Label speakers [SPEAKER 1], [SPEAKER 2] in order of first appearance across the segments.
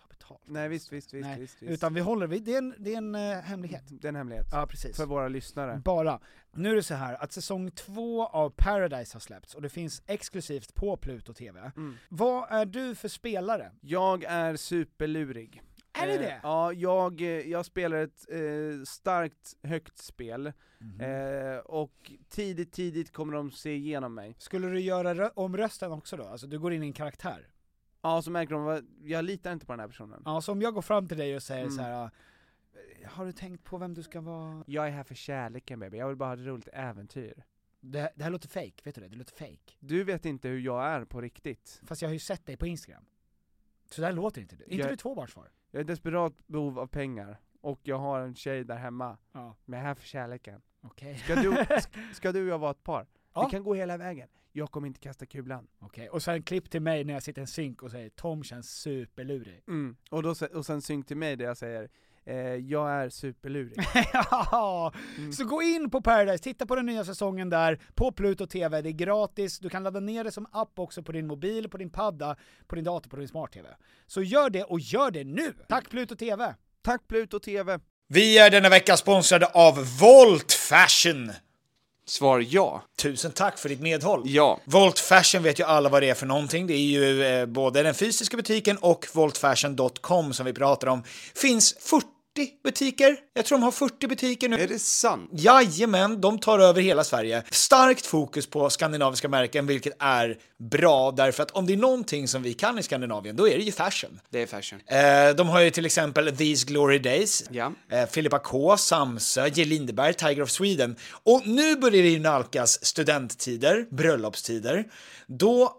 [SPEAKER 1] ta betalt.
[SPEAKER 2] Nej visst, visst, visst,
[SPEAKER 1] Nej,
[SPEAKER 2] visst, visst.
[SPEAKER 1] utan vi håller, vi, det är en, det är en eh, hemlighet.
[SPEAKER 2] Det är en hemlighet.
[SPEAKER 1] Ja, precis.
[SPEAKER 2] För våra lyssnare.
[SPEAKER 1] Bara. Nu är det så här att säsong två av Paradise har släppts och det finns exklusivt på Pluto TV.
[SPEAKER 2] Mm.
[SPEAKER 1] Vad är du för spelare?
[SPEAKER 2] Jag är superlurig.
[SPEAKER 1] Är det
[SPEAKER 2] Eh,
[SPEAKER 1] det?
[SPEAKER 2] Ja, jag, eh, jag spelar ett eh, starkt, högt spel,
[SPEAKER 1] Mhm.
[SPEAKER 2] eh, och tidigt, tidigt kommer de se igenom mig.
[SPEAKER 1] Skulle du göra rö- om rösten också då? Alltså du går in i en karaktär?
[SPEAKER 2] Mm. Ja, så märker de, vad- jag litar inte på den här personen.
[SPEAKER 1] Ja, så Alltså, om jag går fram till dig och säger
[SPEAKER 2] Mm.
[SPEAKER 1] så här. "Ah, har du tänkt på vem du ska vara?
[SPEAKER 2] Jag är här för kärleken baby, jag vill bara ha ett roligt äventyr.
[SPEAKER 1] Det, det här låter fake, vet du det? Det låter fake.
[SPEAKER 2] Du vet inte hur jag är på riktigt.
[SPEAKER 1] Fast jag har ju sett dig på Instagram. Så där låter inte du. Är inte
[SPEAKER 2] Jag-
[SPEAKER 1] du tvåbarnsfar?
[SPEAKER 2] Jag är i desperat behov av pengar, och jag har en tjej där hemma,
[SPEAKER 1] Ja,
[SPEAKER 2] men jag är här för kärleken.
[SPEAKER 1] okej.
[SPEAKER 2] Ska du, sk- ska du och jag vara ett par?
[SPEAKER 1] Ja.
[SPEAKER 2] Vi kan gå hela vägen. Jag kommer inte kasta kulan.
[SPEAKER 1] Okej, och sen klipp till mig när jag sitter i en synk och säger Tom känns superlurig.
[SPEAKER 2] Mm. Och, då, se- och sen synk till mig där jag säger, eh, jag är superlurig.
[SPEAKER 1] ja!
[SPEAKER 3] Mm.
[SPEAKER 1] Så gå in på Paradise, titta på den nya säsongen där, på Pluto TV, det är gratis, du kan ladda ner det som app också på din mobil, på din padda, på din dator, på din smart-TV. Så gör det, och gör det nu! Tack Pluto TV!
[SPEAKER 2] Tack Pluto TV!
[SPEAKER 3] Vi är denna vecka sponsrade av Volt Fashion.
[SPEAKER 4] Svar ja.
[SPEAKER 3] Tusen tack för ditt medhåll.
[SPEAKER 4] Ja.
[SPEAKER 3] Volt Fashion vet ju alla vad det är för någonting. Det är ju eh, både den fysiska butiken och voltfashion.com som vi pratar om. Finns 40 butiker. Jag tror de har 40 butiker nu.
[SPEAKER 4] Är det sant?
[SPEAKER 3] Jajamän, de tar över hela Sverige. Starkt fokus på skandinaviska märken, vilket är bra därför att om det är någonting som vi kan i Skandinavien, då är det ju fashion.
[SPEAKER 4] Det är fashion.
[SPEAKER 3] Eh, de har ju till exempel These Glory Days,
[SPEAKER 4] Ja.
[SPEAKER 3] eh, Filippa K, Samsö, J. Lindeberg, Tiger of Sweden. Och nu börjar det ju nalkas studenttider, bröllopstider. Då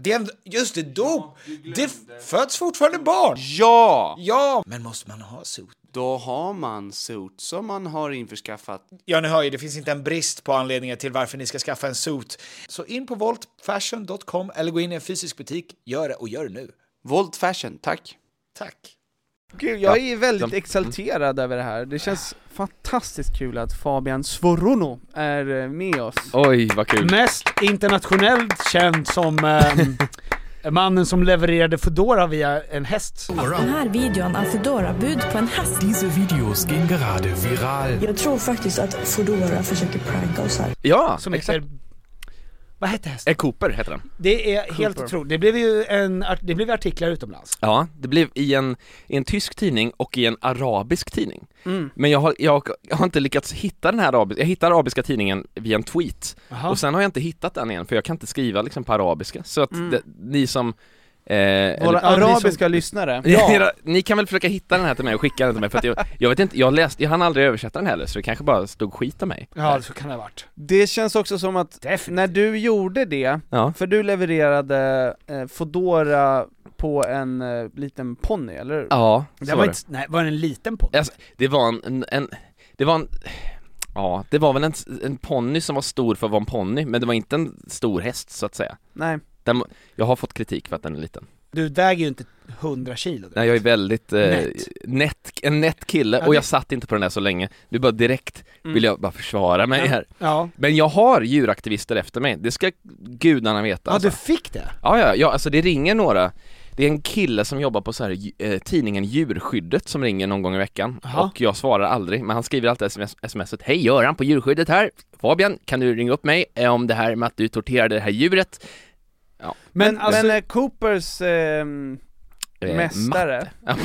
[SPEAKER 3] Det är en, just det, dop! det f- föds fortfarande barn!
[SPEAKER 4] Ja!
[SPEAKER 3] Ja! Men måste man ha suit?
[SPEAKER 4] Då har man suits som man har införskaffat.
[SPEAKER 3] Ja, ni hör ju, det finns inte en brist på anledningar till varför ni ska skaffa en suit. Så in på voltfashion.com eller gå in i en fysisk butik. Gör det och gör det nu.
[SPEAKER 4] Volt fashion, tack.
[SPEAKER 3] Tack.
[SPEAKER 2] Gud, jag är väldigt
[SPEAKER 5] mm.
[SPEAKER 2] exalterad över det här. Det känns fantastiskt kul att Fabian Svorono är eh, med oss.
[SPEAKER 5] Oj, vad kul.
[SPEAKER 1] Mest internationellt känd som ehm, mannen som levererade Foodora via en häst.
[SPEAKER 6] Den här videon är Foodora bud på en häst.
[SPEAKER 7] Diese Videos gehen gerade viral.
[SPEAKER 6] Jag tror faktiskt att Foodora försöker pranka oss här.
[SPEAKER 5] Ja,
[SPEAKER 1] Som
[SPEAKER 5] exakt.
[SPEAKER 1] heter Vad hette hästen?
[SPEAKER 5] Eh, Cooper heter den.
[SPEAKER 1] Det är helt
[SPEAKER 5] Cooper.
[SPEAKER 1] otroligt. Det blev ju en, art- det blev artiklar utomlands.
[SPEAKER 5] Ja, det blev i en, i en tysk tidning och i en arabisk tidning.
[SPEAKER 1] Mm.
[SPEAKER 5] Men jag har, jag har inte lyckats hitta den här arabiska, jag hittade arabiska tidningen via en tweet
[SPEAKER 1] Jaha.
[SPEAKER 5] och sen har jag inte hittat den igen för jag kan inte skriva liksom på arabiska så att
[SPEAKER 2] Mm.
[SPEAKER 5] det, ni som eh,
[SPEAKER 2] Våra
[SPEAKER 5] eller-
[SPEAKER 2] arabiska lyssnare.
[SPEAKER 5] Ja. Ni kan väl försöka hitta den här till mig och skicka den till mig för att jag, jag vet inte, jag läste, jag hann aldrig översätta den heller så det kanske bara stod skit om mig
[SPEAKER 1] Ja, så kan det ha varit.
[SPEAKER 2] Det känns också som att när du gjorde det,
[SPEAKER 5] Ja.
[SPEAKER 2] för du levererade eh, Fodora på en eh, liten ponny, eller hur?
[SPEAKER 5] Ja,
[SPEAKER 2] Det
[SPEAKER 5] så
[SPEAKER 2] var
[SPEAKER 5] var det.
[SPEAKER 2] inte-
[SPEAKER 1] nej, var det en liten ponny?
[SPEAKER 5] Alltså, det var en, en, en, det var en, ja det var väl en, en ponny som var stor för att vara en ponny men det var inte en stor häst så att säga
[SPEAKER 2] Nej.
[SPEAKER 5] den, Jag har fått kritik för att den är liten
[SPEAKER 1] Du väger ju inte 100 kilo.
[SPEAKER 5] Nej jag är väldigt, eh,
[SPEAKER 1] Nätt.
[SPEAKER 5] nätt, en nätt kille
[SPEAKER 1] Ja,
[SPEAKER 5] och
[SPEAKER 1] det-
[SPEAKER 5] jag satt inte på den där så länge Nu bara direkt
[SPEAKER 1] Mm.
[SPEAKER 5] vill jag bara försvara mig här
[SPEAKER 1] Ja.
[SPEAKER 5] Men jag har djuraktivister efter mig, det ska gudarna veta
[SPEAKER 1] Ja, du fick det?
[SPEAKER 5] alltså. Ja, ja, ja, alltså det ringer några Det är en kille som jobbar på så här, dj- eh, tidningen Djurskyddet som ringer någon gång i veckan
[SPEAKER 1] Jaha.
[SPEAKER 5] Och jag svarar aldrig, men han skriver alltid sms, smset Hej Göran på Djurskyddet här Fabian, kan du ringa upp mig eh, om det här med att du torterade det här djuret? Ja.
[SPEAKER 2] Men, men,
[SPEAKER 1] alltså-
[SPEAKER 2] eh, Coopers ehm,
[SPEAKER 5] Eh,
[SPEAKER 2] mästare,
[SPEAKER 5] matte.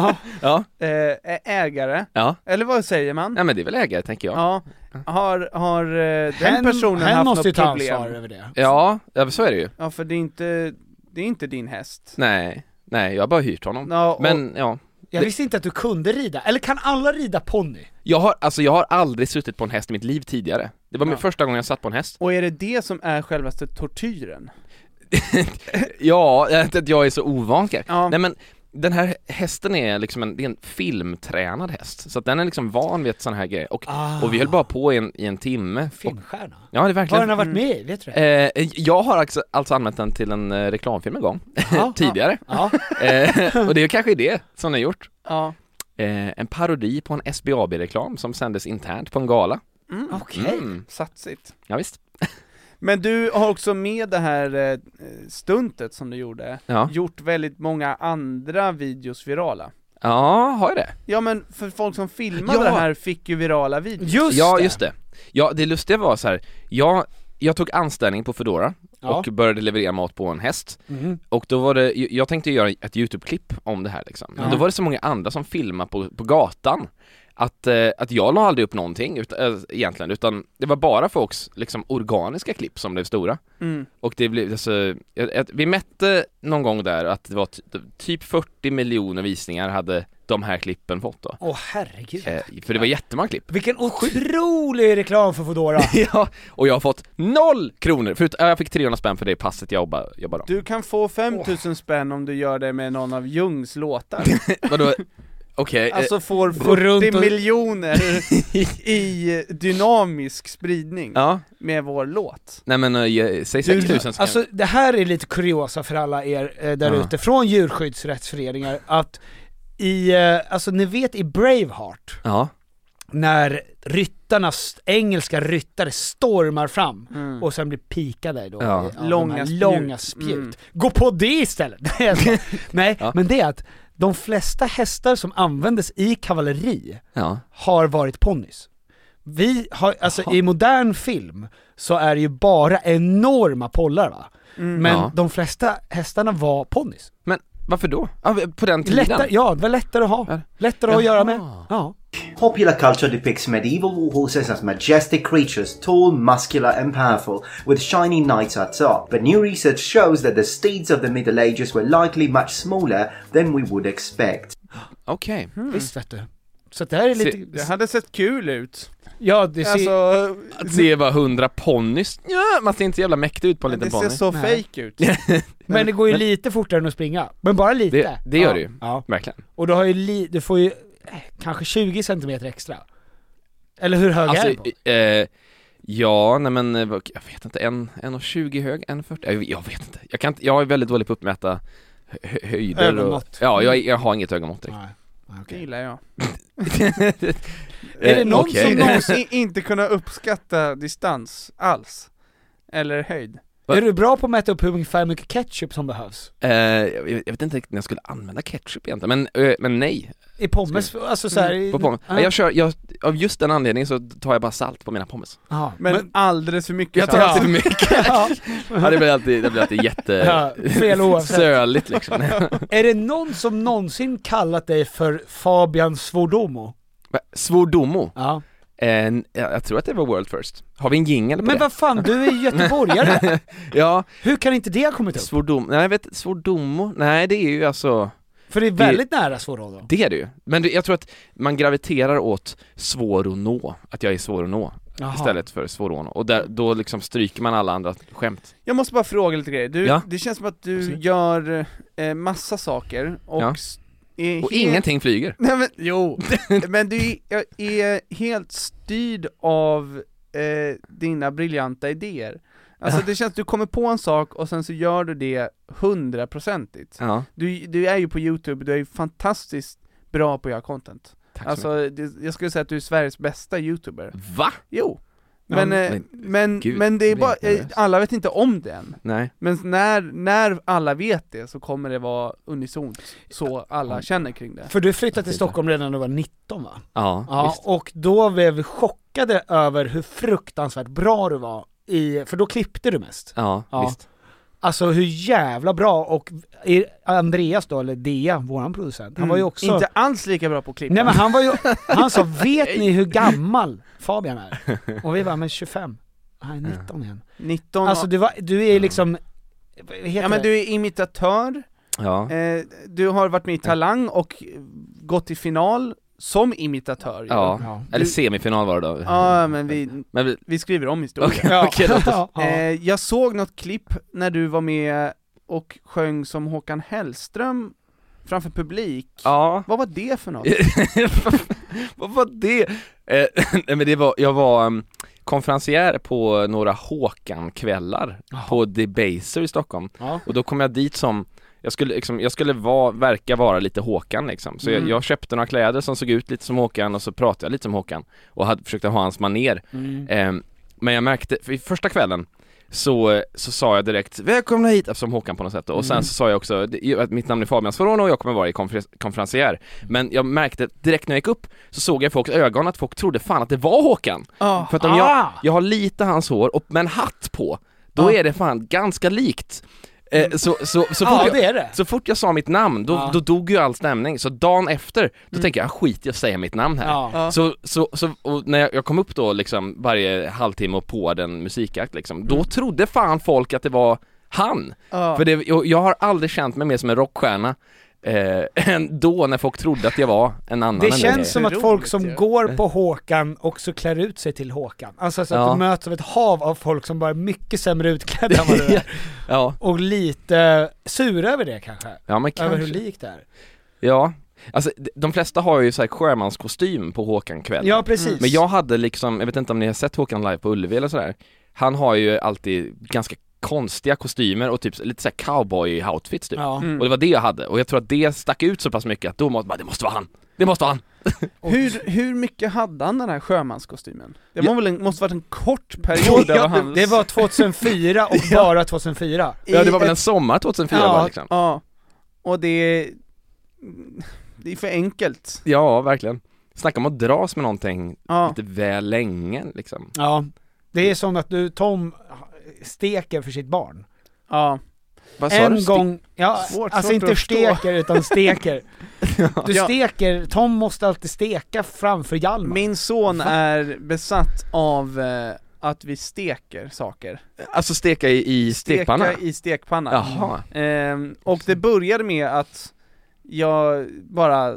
[SPEAKER 5] ja.
[SPEAKER 2] eh, är ägare,
[SPEAKER 5] ja.
[SPEAKER 2] eller vad säger man?
[SPEAKER 5] Ja men det är väl ägare tänker jag
[SPEAKER 2] Ja, har, har eh, den
[SPEAKER 1] Hen-
[SPEAKER 2] personen
[SPEAKER 1] hen
[SPEAKER 2] haft
[SPEAKER 1] måste ju
[SPEAKER 2] något
[SPEAKER 1] ta
[SPEAKER 2] problem?
[SPEAKER 1] ansvar över det.
[SPEAKER 5] Ja, ja men så är det ju
[SPEAKER 2] Ja, för det är inte, det är inte din häst.
[SPEAKER 5] Nej, nej jag har bara hyrt honom
[SPEAKER 2] Ja, och-
[SPEAKER 5] Mm. Men ja
[SPEAKER 1] Jag
[SPEAKER 5] Det-
[SPEAKER 1] visste inte att du kunde rida, eller kan alla rida ponny?
[SPEAKER 5] jag har, alltså jag har aldrig suttit på en häst i mitt liv tidigare Det var min första gången jag satt på en häst
[SPEAKER 2] Och är det det som är självaste tortyren?
[SPEAKER 5] Ja, jag vet inte att jag är så ovan kanske.
[SPEAKER 2] Ja.
[SPEAKER 5] Nej men den här hästen är liksom en, det är en filmtränad häst, så att den är liksom van vid sådana här grejer. Och,
[SPEAKER 1] Ah.
[SPEAKER 5] och vi höll bara på i en, i en timme. Och,
[SPEAKER 1] Filmstjärna?
[SPEAKER 5] ja, det är
[SPEAKER 1] Har
[SPEAKER 5] verkligen...
[SPEAKER 1] den har varit med i? Vet du det?
[SPEAKER 5] Eh, jag har alltså, alltså använt den till en eh, reklamfilm en gång,
[SPEAKER 1] Ja.
[SPEAKER 5] tidigare.
[SPEAKER 1] Ja.
[SPEAKER 5] Eh, och det är kanske det som den har gjort.
[SPEAKER 2] Ja,
[SPEAKER 5] Eh, en parodi på en SBAB-reklam som sändes internt på en gala.
[SPEAKER 2] mm.
[SPEAKER 1] Okej.
[SPEAKER 5] Mm.
[SPEAKER 2] satsigt.
[SPEAKER 5] Ja, visst.
[SPEAKER 2] Men du har också med det här eh, stuntet som du gjorde,
[SPEAKER 5] Ja.
[SPEAKER 2] gjort väldigt många andra videos virala.
[SPEAKER 5] ja, har jag det?
[SPEAKER 2] Ja men för folk som filmade
[SPEAKER 5] Ja.
[SPEAKER 2] det här fick ju virala videos.
[SPEAKER 1] Just
[SPEAKER 5] ja,
[SPEAKER 1] det!
[SPEAKER 5] just det. Ja, det lustiga var så här, jag, jag tog anställning på Foodora
[SPEAKER 1] Ja.
[SPEAKER 5] och började leverera mat på en häst.
[SPEAKER 1] Mhm.
[SPEAKER 5] Och då var det, jag tänkte göra ett YouTube-klipp om det här liksom. Men
[SPEAKER 1] Ja.
[SPEAKER 5] då var det så många andra som filmade på, på gatan att, eh, att jag la aldrig upp någonting utan, eh, egentligen, utan det var bara folks liksom organiska klipp som blev stora.
[SPEAKER 2] Mm.
[SPEAKER 5] Och det blev, alltså, jag- jag- vi mätte någon gång där att det var ty- typ 40 miljoner visningar hade de här klippen fått då.
[SPEAKER 1] Åh herregud.
[SPEAKER 5] Eh, för det var jättemånga klipp.
[SPEAKER 1] Vilken otrolig reklam för Foodora.
[SPEAKER 5] Ja, och jag har fått noll kronor! Förut, ja, jag fick 300 spänn för det passet jag jobbar, jobbar om.
[SPEAKER 2] Du kan få 5000 spänn om du gör det med någon av Jungs låtar.
[SPEAKER 5] Vadå? Okej, eh,
[SPEAKER 2] Alltså får
[SPEAKER 1] runt
[SPEAKER 2] 40
[SPEAKER 1] och-
[SPEAKER 2] miljoner i dynamisk spridning
[SPEAKER 5] ja,
[SPEAKER 2] med vår låt.
[SPEAKER 5] nej men eh, ge- säg 6000 så
[SPEAKER 1] Alltså
[SPEAKER 5] alltså,
[SPEAKER 1] det här är lite kuriosa för alla er eh, där
[SPEAKER 5] Ja.
[SPEAKER 1] ute från djurskyddsrättsföreningar att i, eh, alltså ni vet i Braveheart,
[SPEAKER 5] Ja,
[SPEAKER 1] när ryttarnas, engelska ryttare stormar fram och sen blir pikade då
[SPEAKER 5] Ja.
[SPEAKER 1] av de här
[SPEAKER 2] Långa spjut.
[SPEAKER 1] långa spjut.
[SPEAKER 2] Mm.
[SPEAKER 1] Gå på det istället! Nej, jag skojar. Nej,
[SPEAKER 5] Ja.
[SPEAKER 1] men det är att de flesta hästar som användes i kavalleri
[SPEAKER 5] ja,
[SPEAKER 1] har varit ponnys. Vi har, alltså
[SPEAKER 5] Jaha.
[SPEAKER 1] i modern film så är det ju bara enorma pollar va? Men
[SPEAKER 5] Ja.
[SPEAKER 1] de flesta hästarna var ponnys.
[SPEAKER 5] men varför då? Ja, på den tiden?
[SPEAKER 1] Lättare, ja det var lättare att ha,
[SPEAKER 5] Ja.
[SPEAKER 1] lättare att
[SPEAKER 5] Jaha.
[SPEAKER 1] göra med. Ja.
[SPEAKER 8] Popular culture depicts medieval war horses as majestic creatures, tall, muscular, and powerful, with shiny knights at top. But new research shows that the steeds of the Middle Ages were likely much smaller than we would expect.
[SPEAKER 5] Okej,
[SPEAKER 1] Visst vet du. Så det här är lite,
[SPEAKER 2] Det hade sett kul ut.
[SPEAKER 1] ja det ser,
[SPEAKER 2] Alltså,
[SPEAKER 5] att se bara 100 ponnys, ja, man ser inte så jävla mäktig ut på en
[SPEAKER 2] det
[SPEAKER 5] liten
[SPEAKER 2] ser
[SPEAKER 5] ponny
[SPEAKER 2] så
[SPEAKER 1] Nej.
[SPEAKER 2] fake ut.
[SPEAKER 1] men det går ju
[SPEAKER 5] Men-
[SPEAKER 1] lite fortare än att springa. Men bara lite.
[SPEAKER 5] det, det gör
[SPEAKER 1] ja.
[SPEAKER 5] det ju,
[SPEAKER 1] Ja.
[SPEAKER 5] verkligen
[SPEAKER 1] Och du har ju li, du får ju eh, kanske 20 cm extra. Eller hur hög är den
[SPEAKER 5] Alltså,
[SPEAKER 1] på?
[SPEAKER 5] eh, ja, nej men, eh, vad- jag vet inte, en, en och 20 hög, en 40, jag, jag vet inte, jag kan inte, jag är väldigt dålig på att uppmäta hö- hö- höjder
[SPEAKER 1] Ögonmått.
[SPEAKER 5] och, Ja, jag, jag har inget ögonmått direkt
[SPEAKER 1] Nej.
[SPEAKER 2] Det
[SPEAKER 1] Okej.
[SPEAKER 2] gillar jag.
[SPEAKER 1] Är det någon
[SPEAKER 5] Eh, okej.
[SPEAKER 2] Som någonsin inte kunna uppskatta distans alls. Eller höjd.
[SPEAKER 1] Är du bra på att mäta upp hur ungefär mycket ketchup som behövs?
[SPEAKER 5] Eh, jag, jag vet inte riktigt när jag skulle använda ketchup egentligen, men, eh, men nej.
[SPEAKER 1] I pommes,
[SPEAKER 5] Skulle-
[SPEAKER 1] alltså såhär... i-
[SPEAKER 5] På pommes.
[SPEAKER 1] Ja.
[SPEAKER 5] Nej, Jag kör, jag, av just den anledningen så tar jag bara salt på mina pommes.
[SPEAKER 1] Ja.
[SPEAKER 2] Men, alldeles för mycket
[SPEAKER 5] Jag tar
[SPEAKER 2] salt.
[SPEAKER 5] alltid för mycket.
[SPEAKER 1] Ja.
[SPEAKER 5] Ja, det blir alltid, det blir alltid jätte...
[SPEAKER 1] Ja, fel oavsett.
[SPEAKER 5] Söligt liksom.
[SPEAKER 1] Är det någon som någonsin kallat dig för Fabian Svordomo?
[SPEAKER 5] Va, Svordomo?
[SPEAKER 1] Ja.
[SPEAKER 5] En, jag jag tror att det var world first. Har vi en jingle på
[SPEAKER 1] Men
[SPEAKER 5] det?
[SPEAKER 1] vad fan, du är ju göteborgare!
[SPEAKER 5] ja,
[SPEAKER 1] Hur kan inte det ha kommit upp?
[SPEAKER 5] svordom, nej jag vet, svordomo, nej det är ju alltså,
[SPEAKER 1] För det är väldigt nära Svordomo.
[SPEAKER 5] det är det ju. Men det, jag tror att man graviterar åt svår att nå, att jag är svår att nå
[SPEAKER 1] Jaha.
[SPEAKER 5] istället för svår att nå. Och där, då liksom stryker man alla andra skämt.
[SPEAKER 2] Jag måste bara fråga lite grejer, du,
[SPEAKER 5] Ja.
[SPEAKER 2] det känns som att du
[SPEAKER 5] Absolut.
[SPEAKER 2] gör eh, massa saker och
[SPEAKER 5] Ja.
[SPEAKER 2] s- är helt-
[SPEAKER 5] Och ingenting flyger.
[SPEAKER 2] Nej men jo, men du är- jag är helt styrd av eh, dina briljanta idéer Alltså det känns, du kommer på en sak och sen så gör du det hundraprocentigt
[SPEAKER 5] Ja,
[SPEAKER 2] du, du är ju på youtube, du är ju fantastiskt bra på att göra content
[SPEAKER 5] tack så mycket.
[SPEAKER 2] Alltså, det, jag skulle säga att du är Sveriges bästa youtuber
[SPEAKER 5] Va?
[SPEAKER 2] Jo!
[SPEAKER 5] Ja,
[SPEAKER 2] Men,
[SPEAKER 5] men-
[SPEAKER 2] eh, men,
[SPEAKER 5] gud,
[SPEAKER 2] men det
[SPEAKER 5] jag
[SPEAKER 2] är
[SPEAKER 5] blir
[SPEAKER 2] bara,
[SPEAKER 5] helt
[SPEAKER 2] eh,
[SPEAKER 5] nervös.
[SPEAKER 2] alla vet inte om det än
[SPEAKER 5] Nej.
[SPEAKER 2] men när, när alla vet det så kommer det vara unisont, så alla känner kring det.
[SPEAKER 1] För du flyttade till Stockholm redan när du var 19 va?
[SPEAKER 5] Ja,
[SPEAKER 1] Ja,
[SPEAKER 5] visst.
[SPEAKER 1] och då blev vi chockade över hur fruktansvärt bra du var i, för då klippte du mest.
[SPEAKER 5] Ja,
[SPEAKER 1] Ja.
[SPEAKER 5] visst.
[SPEAKER 1] Alltså hur jävla bra, och i- Andreas då, eller Dea, våran producent, han var ju
[SPEAKER 2] Mm.
[SPEAKER 1] också...
[SPEAKER 2] Inte alls lika bra på klipp.
[SPEAKER 1] Nej men han var ju, han sa 'Vet ni hur gammal Fabian är?' Och vi bara 'Men 25' Han är 19 igen.
[SPEAKER 2] 19
[SPEAKER 1] Alltså du, var, du är liksom, vad heter
[SPEAKER 2] Ja men
[SPEAKER 1] det?
[SPEAKER 2] du är imitatör,
[SPEAKER 5] Ja.
[SPEAKER 2] eh, du har varit med i Talang och gått till final som imitatör ju.
[SPEAKER 5] Ja.
[SPEAKER 1] Ja.
[SPEAKER 5] Eller semifinal var det då.
[SPEAKER 2] Ja men vi,
[SPEAKER 5] Men vi,
[SPEAKER 2] vi skriver om historien.
[SPEAKER 5] okej, okej, låt oss.
[SPEAKER 1] Ja.
[SPEAKER 2] Eh, jag såg något klipp när du var med och sjöng som Håkan Hellström framför publik.
[SPEAKER 5] Ja.
[SPEAKER 2] Vad var det för något?
[SPEAKER 5] Vad var det? Eh, nej men det var, jag var um, konferencier på några Håkan-kvällar på Debaser i Stockholm
[SPEAKER 1] Ja.
[SPEAKER 5] och då kom jag dit som jag skulle, liksom, jag skulle vara, verka vara lite Håkan liksom, så jag, jag köpte några kläder som såg ut lite som Håkan och så pratade jag lite som Håkan och hade, försökte ha hans maner
[SPEAKER 1] Mm.
[SPEAKER 5] Ehm, Men jag märkte, för i första kvällen så, så sa jag direkt 'Välkomna hit' som Håkan på något sätt då. och sen så sa jag också det- att mitt namn är Fabian Sforona och jag kommer vara i konfer- konferencier Men jag märkte direkt när jag gick upp så såg jag i folks ögon att folk trodde fan att det var Håkan
[SPEAKER 2] Ah.
[SPEAKER 5] Eh, För att om jag,
[SPEAKER 1] Ah.
[SPEAKER 5] jag har lite hans hår och med en hatt på, då
[SPEAKER 1] Ah. Mm.
[SPEAKER 5] är det fan ganska likt Eh, så, så, så, fort
[SPEAKER 1] Ja
[SPEAKER 5] jag,
[SPEAKER 1] det är det!
[SPEAKER 5] så fort jag sa mitt namn, då,
[SPEAKER 1] Ah. Mm.
[SPEAKER 5] då dog ju all stämning, så dagen efter, då tänkte jag skit i att säga mitt namn här
[SPEAKER 1] Ja.
[SPEAKER 2] Ja.
[SPEAKER 5] så, så, så och när jag, jag kom upp då liksom varje halvtimme och på den musikakt liksom,
[SPEAKER 1] Mm.
[SPEAKER 5] då trodde fan folk att det var han!
[SPEAKER 2] Ja.
[SPEAKER 1] Ah.
[SPEAKER 5] För det, jag, jag har aldrig känt mig mer som en rockstjärna eh, än då när folk trodde att jag var en annan
[SPEAKER 1] Det
[SPEAKER 5] än
[SPEAKER 1] känns som att
[SPEAKER 2] Otroligt,
[SPEAKER 1] folk som
[SPEAKER 2] ja.
[SPEAKER 1] går på Håkan också klär ut sig till Håkan. Alltså så att
[SPEAKER 5] Ja.
[SPEAKER 1] du möts av ett hav av folk som bara är mycket sämre utklädda än vad du
[SPEAKER 5] Ja.
[SPEAKER 1] är.
[SPEAKER 5] Ja,
[SPEAKER 1] Och lite eh, sura över det kanske.
[SPEAKER 5] ja men
[SPEAKER 1] Över hur
[SPEAKER 5] kanske,
[SPEAKER 1] likt det är.
[SPEAKER 5] Mm. ja Alltså d- de flesta har ju såhär sjömanskostym på Håkan kväll
[SPEAKER 1] Ja precis.
[SPEAKER 5] Men jag hade liksom, jag vet inte om ni har sett Håkan live på Ullevi eller sådär Han har ju alltid ganska konstiga kostymer och typ lite såhär cowboy-outfits typ
[SPEAKER 1] Ja.
[SPEAKER 2] Mm.
[SPEAKER 1] mm.
[SPEAKER 5] Och det var det jag hade, och jag tror att det stack ut så pass mycket att då måste man, det måste vara han! Det måste vara han!
[SPEAKER 2] Hur, hur mycket hade han den här sjömanskostymen? Det var väl en, måste varit en kort period
[SPEAKER 1] Ja,
[SPEAKER 2] av hans...
[SPEAKER 1] det var 2004 och bara 2004.
[SPEAKER 5] Ja det var
[SPEAKER 2] i
[SPEAKER 5] väl
[SPEAKER 2] ett-
[SPEAKER 5] en sommar 2004
[SPEAKER 1] Ja.
[SPEAKER 5] bara liksom
[SPEAKER 2] Ja, och det... Det är för enkelt.
[SPEAKER 5] Ja, verkligen Snacka om att dras med någonting
[SPEAKER 2] Ja.
[SPEAKER 5] lite väl länge liksom
[SPEAKER 1] Ja. Det är
[SPEAKER 5] Mm.
[SPEAKER 1] som att du, Tom steker för sitt barn.
[SPEAKER 2] ja.
[SPEAKER 5] Vad sa du?
[SPEAKER 1] En
[SPEAKER 5] Sti-
[SPEAKER 1] gång, ja,
[SPEAKER 2] Svårt-
[SPEAKER 1] alltså
[SPEAKER 2] svårt
[SPEAKER 1] inte
[SPEAKER 2] att förstå.
[SPEAKER 1] steker utan steker. Du
[SPEAKER 2] Ja.
[SPEAKER 1] steker, Tom måste alltid steka framför Hjalmar.
[SPEAKER 2] Min son
[SPEAKER 1] Va?
[SPEAKER 2] är besatt av eh, att vi steker saker.
[SPEAKER 5] Alltså steka i, i stekpanna?
[SPEAKER 2] Steka i stekpanna.
[SPEAKER 5] Jaha,
[SPEAKER 2] Ehm, och det började med att jag bara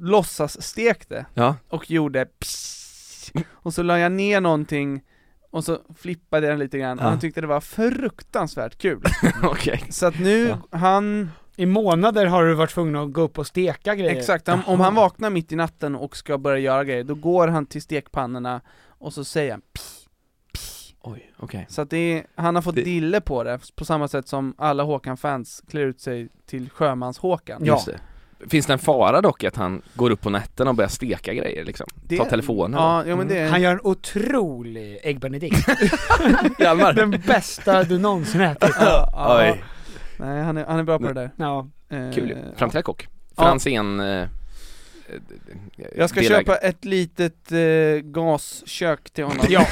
[SPEAKER 2] låtsas stekte
[SPEAKER 5] ja,
[SPEAKER 2] och gjorde pss, och så la jag ner någonting och så flippade jag den lite grann och
[SPEAKER 5] Ja.
[SPEAKER 2] han tyckte det var fruktansvärt kul.
[SPEAKER 5] okej
[SPEAKER 2] Så att nu, han,
[SPEAKER 1] I månader har du varit tvungen att gå upp och steka grejer.
[SPEAKER 2] exakt, om, om han vaknar mitt i natten och ska börja göra grejer, då går han till stekpannorna och så säger han pss, pss.
[SPEAKER 5] Oj, okej
[SPEAKER 2] Så att det är, han har fått
[SPEAKER 5] Det-
[SPEAKER 2] dille på det, på samma sätt som alla Håkan-fans klär ut sig till Sjömans-Håkan.
[SPEAKER 5] Just det. Finns det en fara dock att han går upp på nätterna och börjar steka grejer liksom?
[SPEAKER 2] Det-
[SPEAKER 5] Ta telefonen?
[SPEAKER 2] Ja, ja men det
[SPEAKER 1] Mm. Han gör en otrolig äggbenedikt.
[SPEAKER 5] Hjalmar.
[SPEAKER 1] Den bästa du någonsin ätit.
[SPEAKER 2] Ja, ja.
[SPEAKER 5] Oj.
[SPEAKER 2] Nej han är, han är bra på det där.
[SPEAKER 1] Ja.
[SPEAKER 2] Eh,
[SPEAKER 5] Kul ju. Framtida kock.
[SPEAKER 2] Ja.
[SPEAKER 5] Franzén... Eh,
[SPEAKER 2] Jag ska
[SPEAKER 5] delägare.
[SPEAKER 2] köpa ett litet eh, gaskök till honom.
[SPEAKER 5] Ja.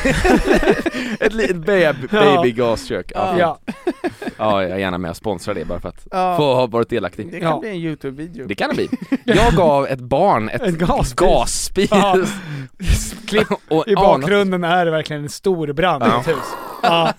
[SPEAKER 5] Ett litet baby,
[SPEAKER 2] Ja.
[SPEAKER 5] babygaskök. Ja. Ja.
[SPEAKER 1] Ja.
[SPEAKER 5] jag är gärna med och sponsrar det bara för att
[SPEAKER 2] Ja.
[SPEAKER 5] få ha varit
[SPEAKER 2] Det
[SPEAKER 5] delaktig.
[SPEAKER 2] kan
[SPEAKER 1] Ja.
[SPEAKER 2] bli en youtube-video.
[SPEAKER 5] Det kan det bli. Jag gav ett barn ett,
[SPEAKER 1] En gasspis.
[SPEAKER 5] gasspis.
[SPEAKER 1] Ja. Klipp
[SPEAKER 5] och
[SPEAKER 1] I
[SPEAKER 5] anat-
[SPEAKER 1] bakgrunden är det verkligen en stor brand i
[SPEAKER 5] Ja.
[SPEAKER 1] ett hus. Ja.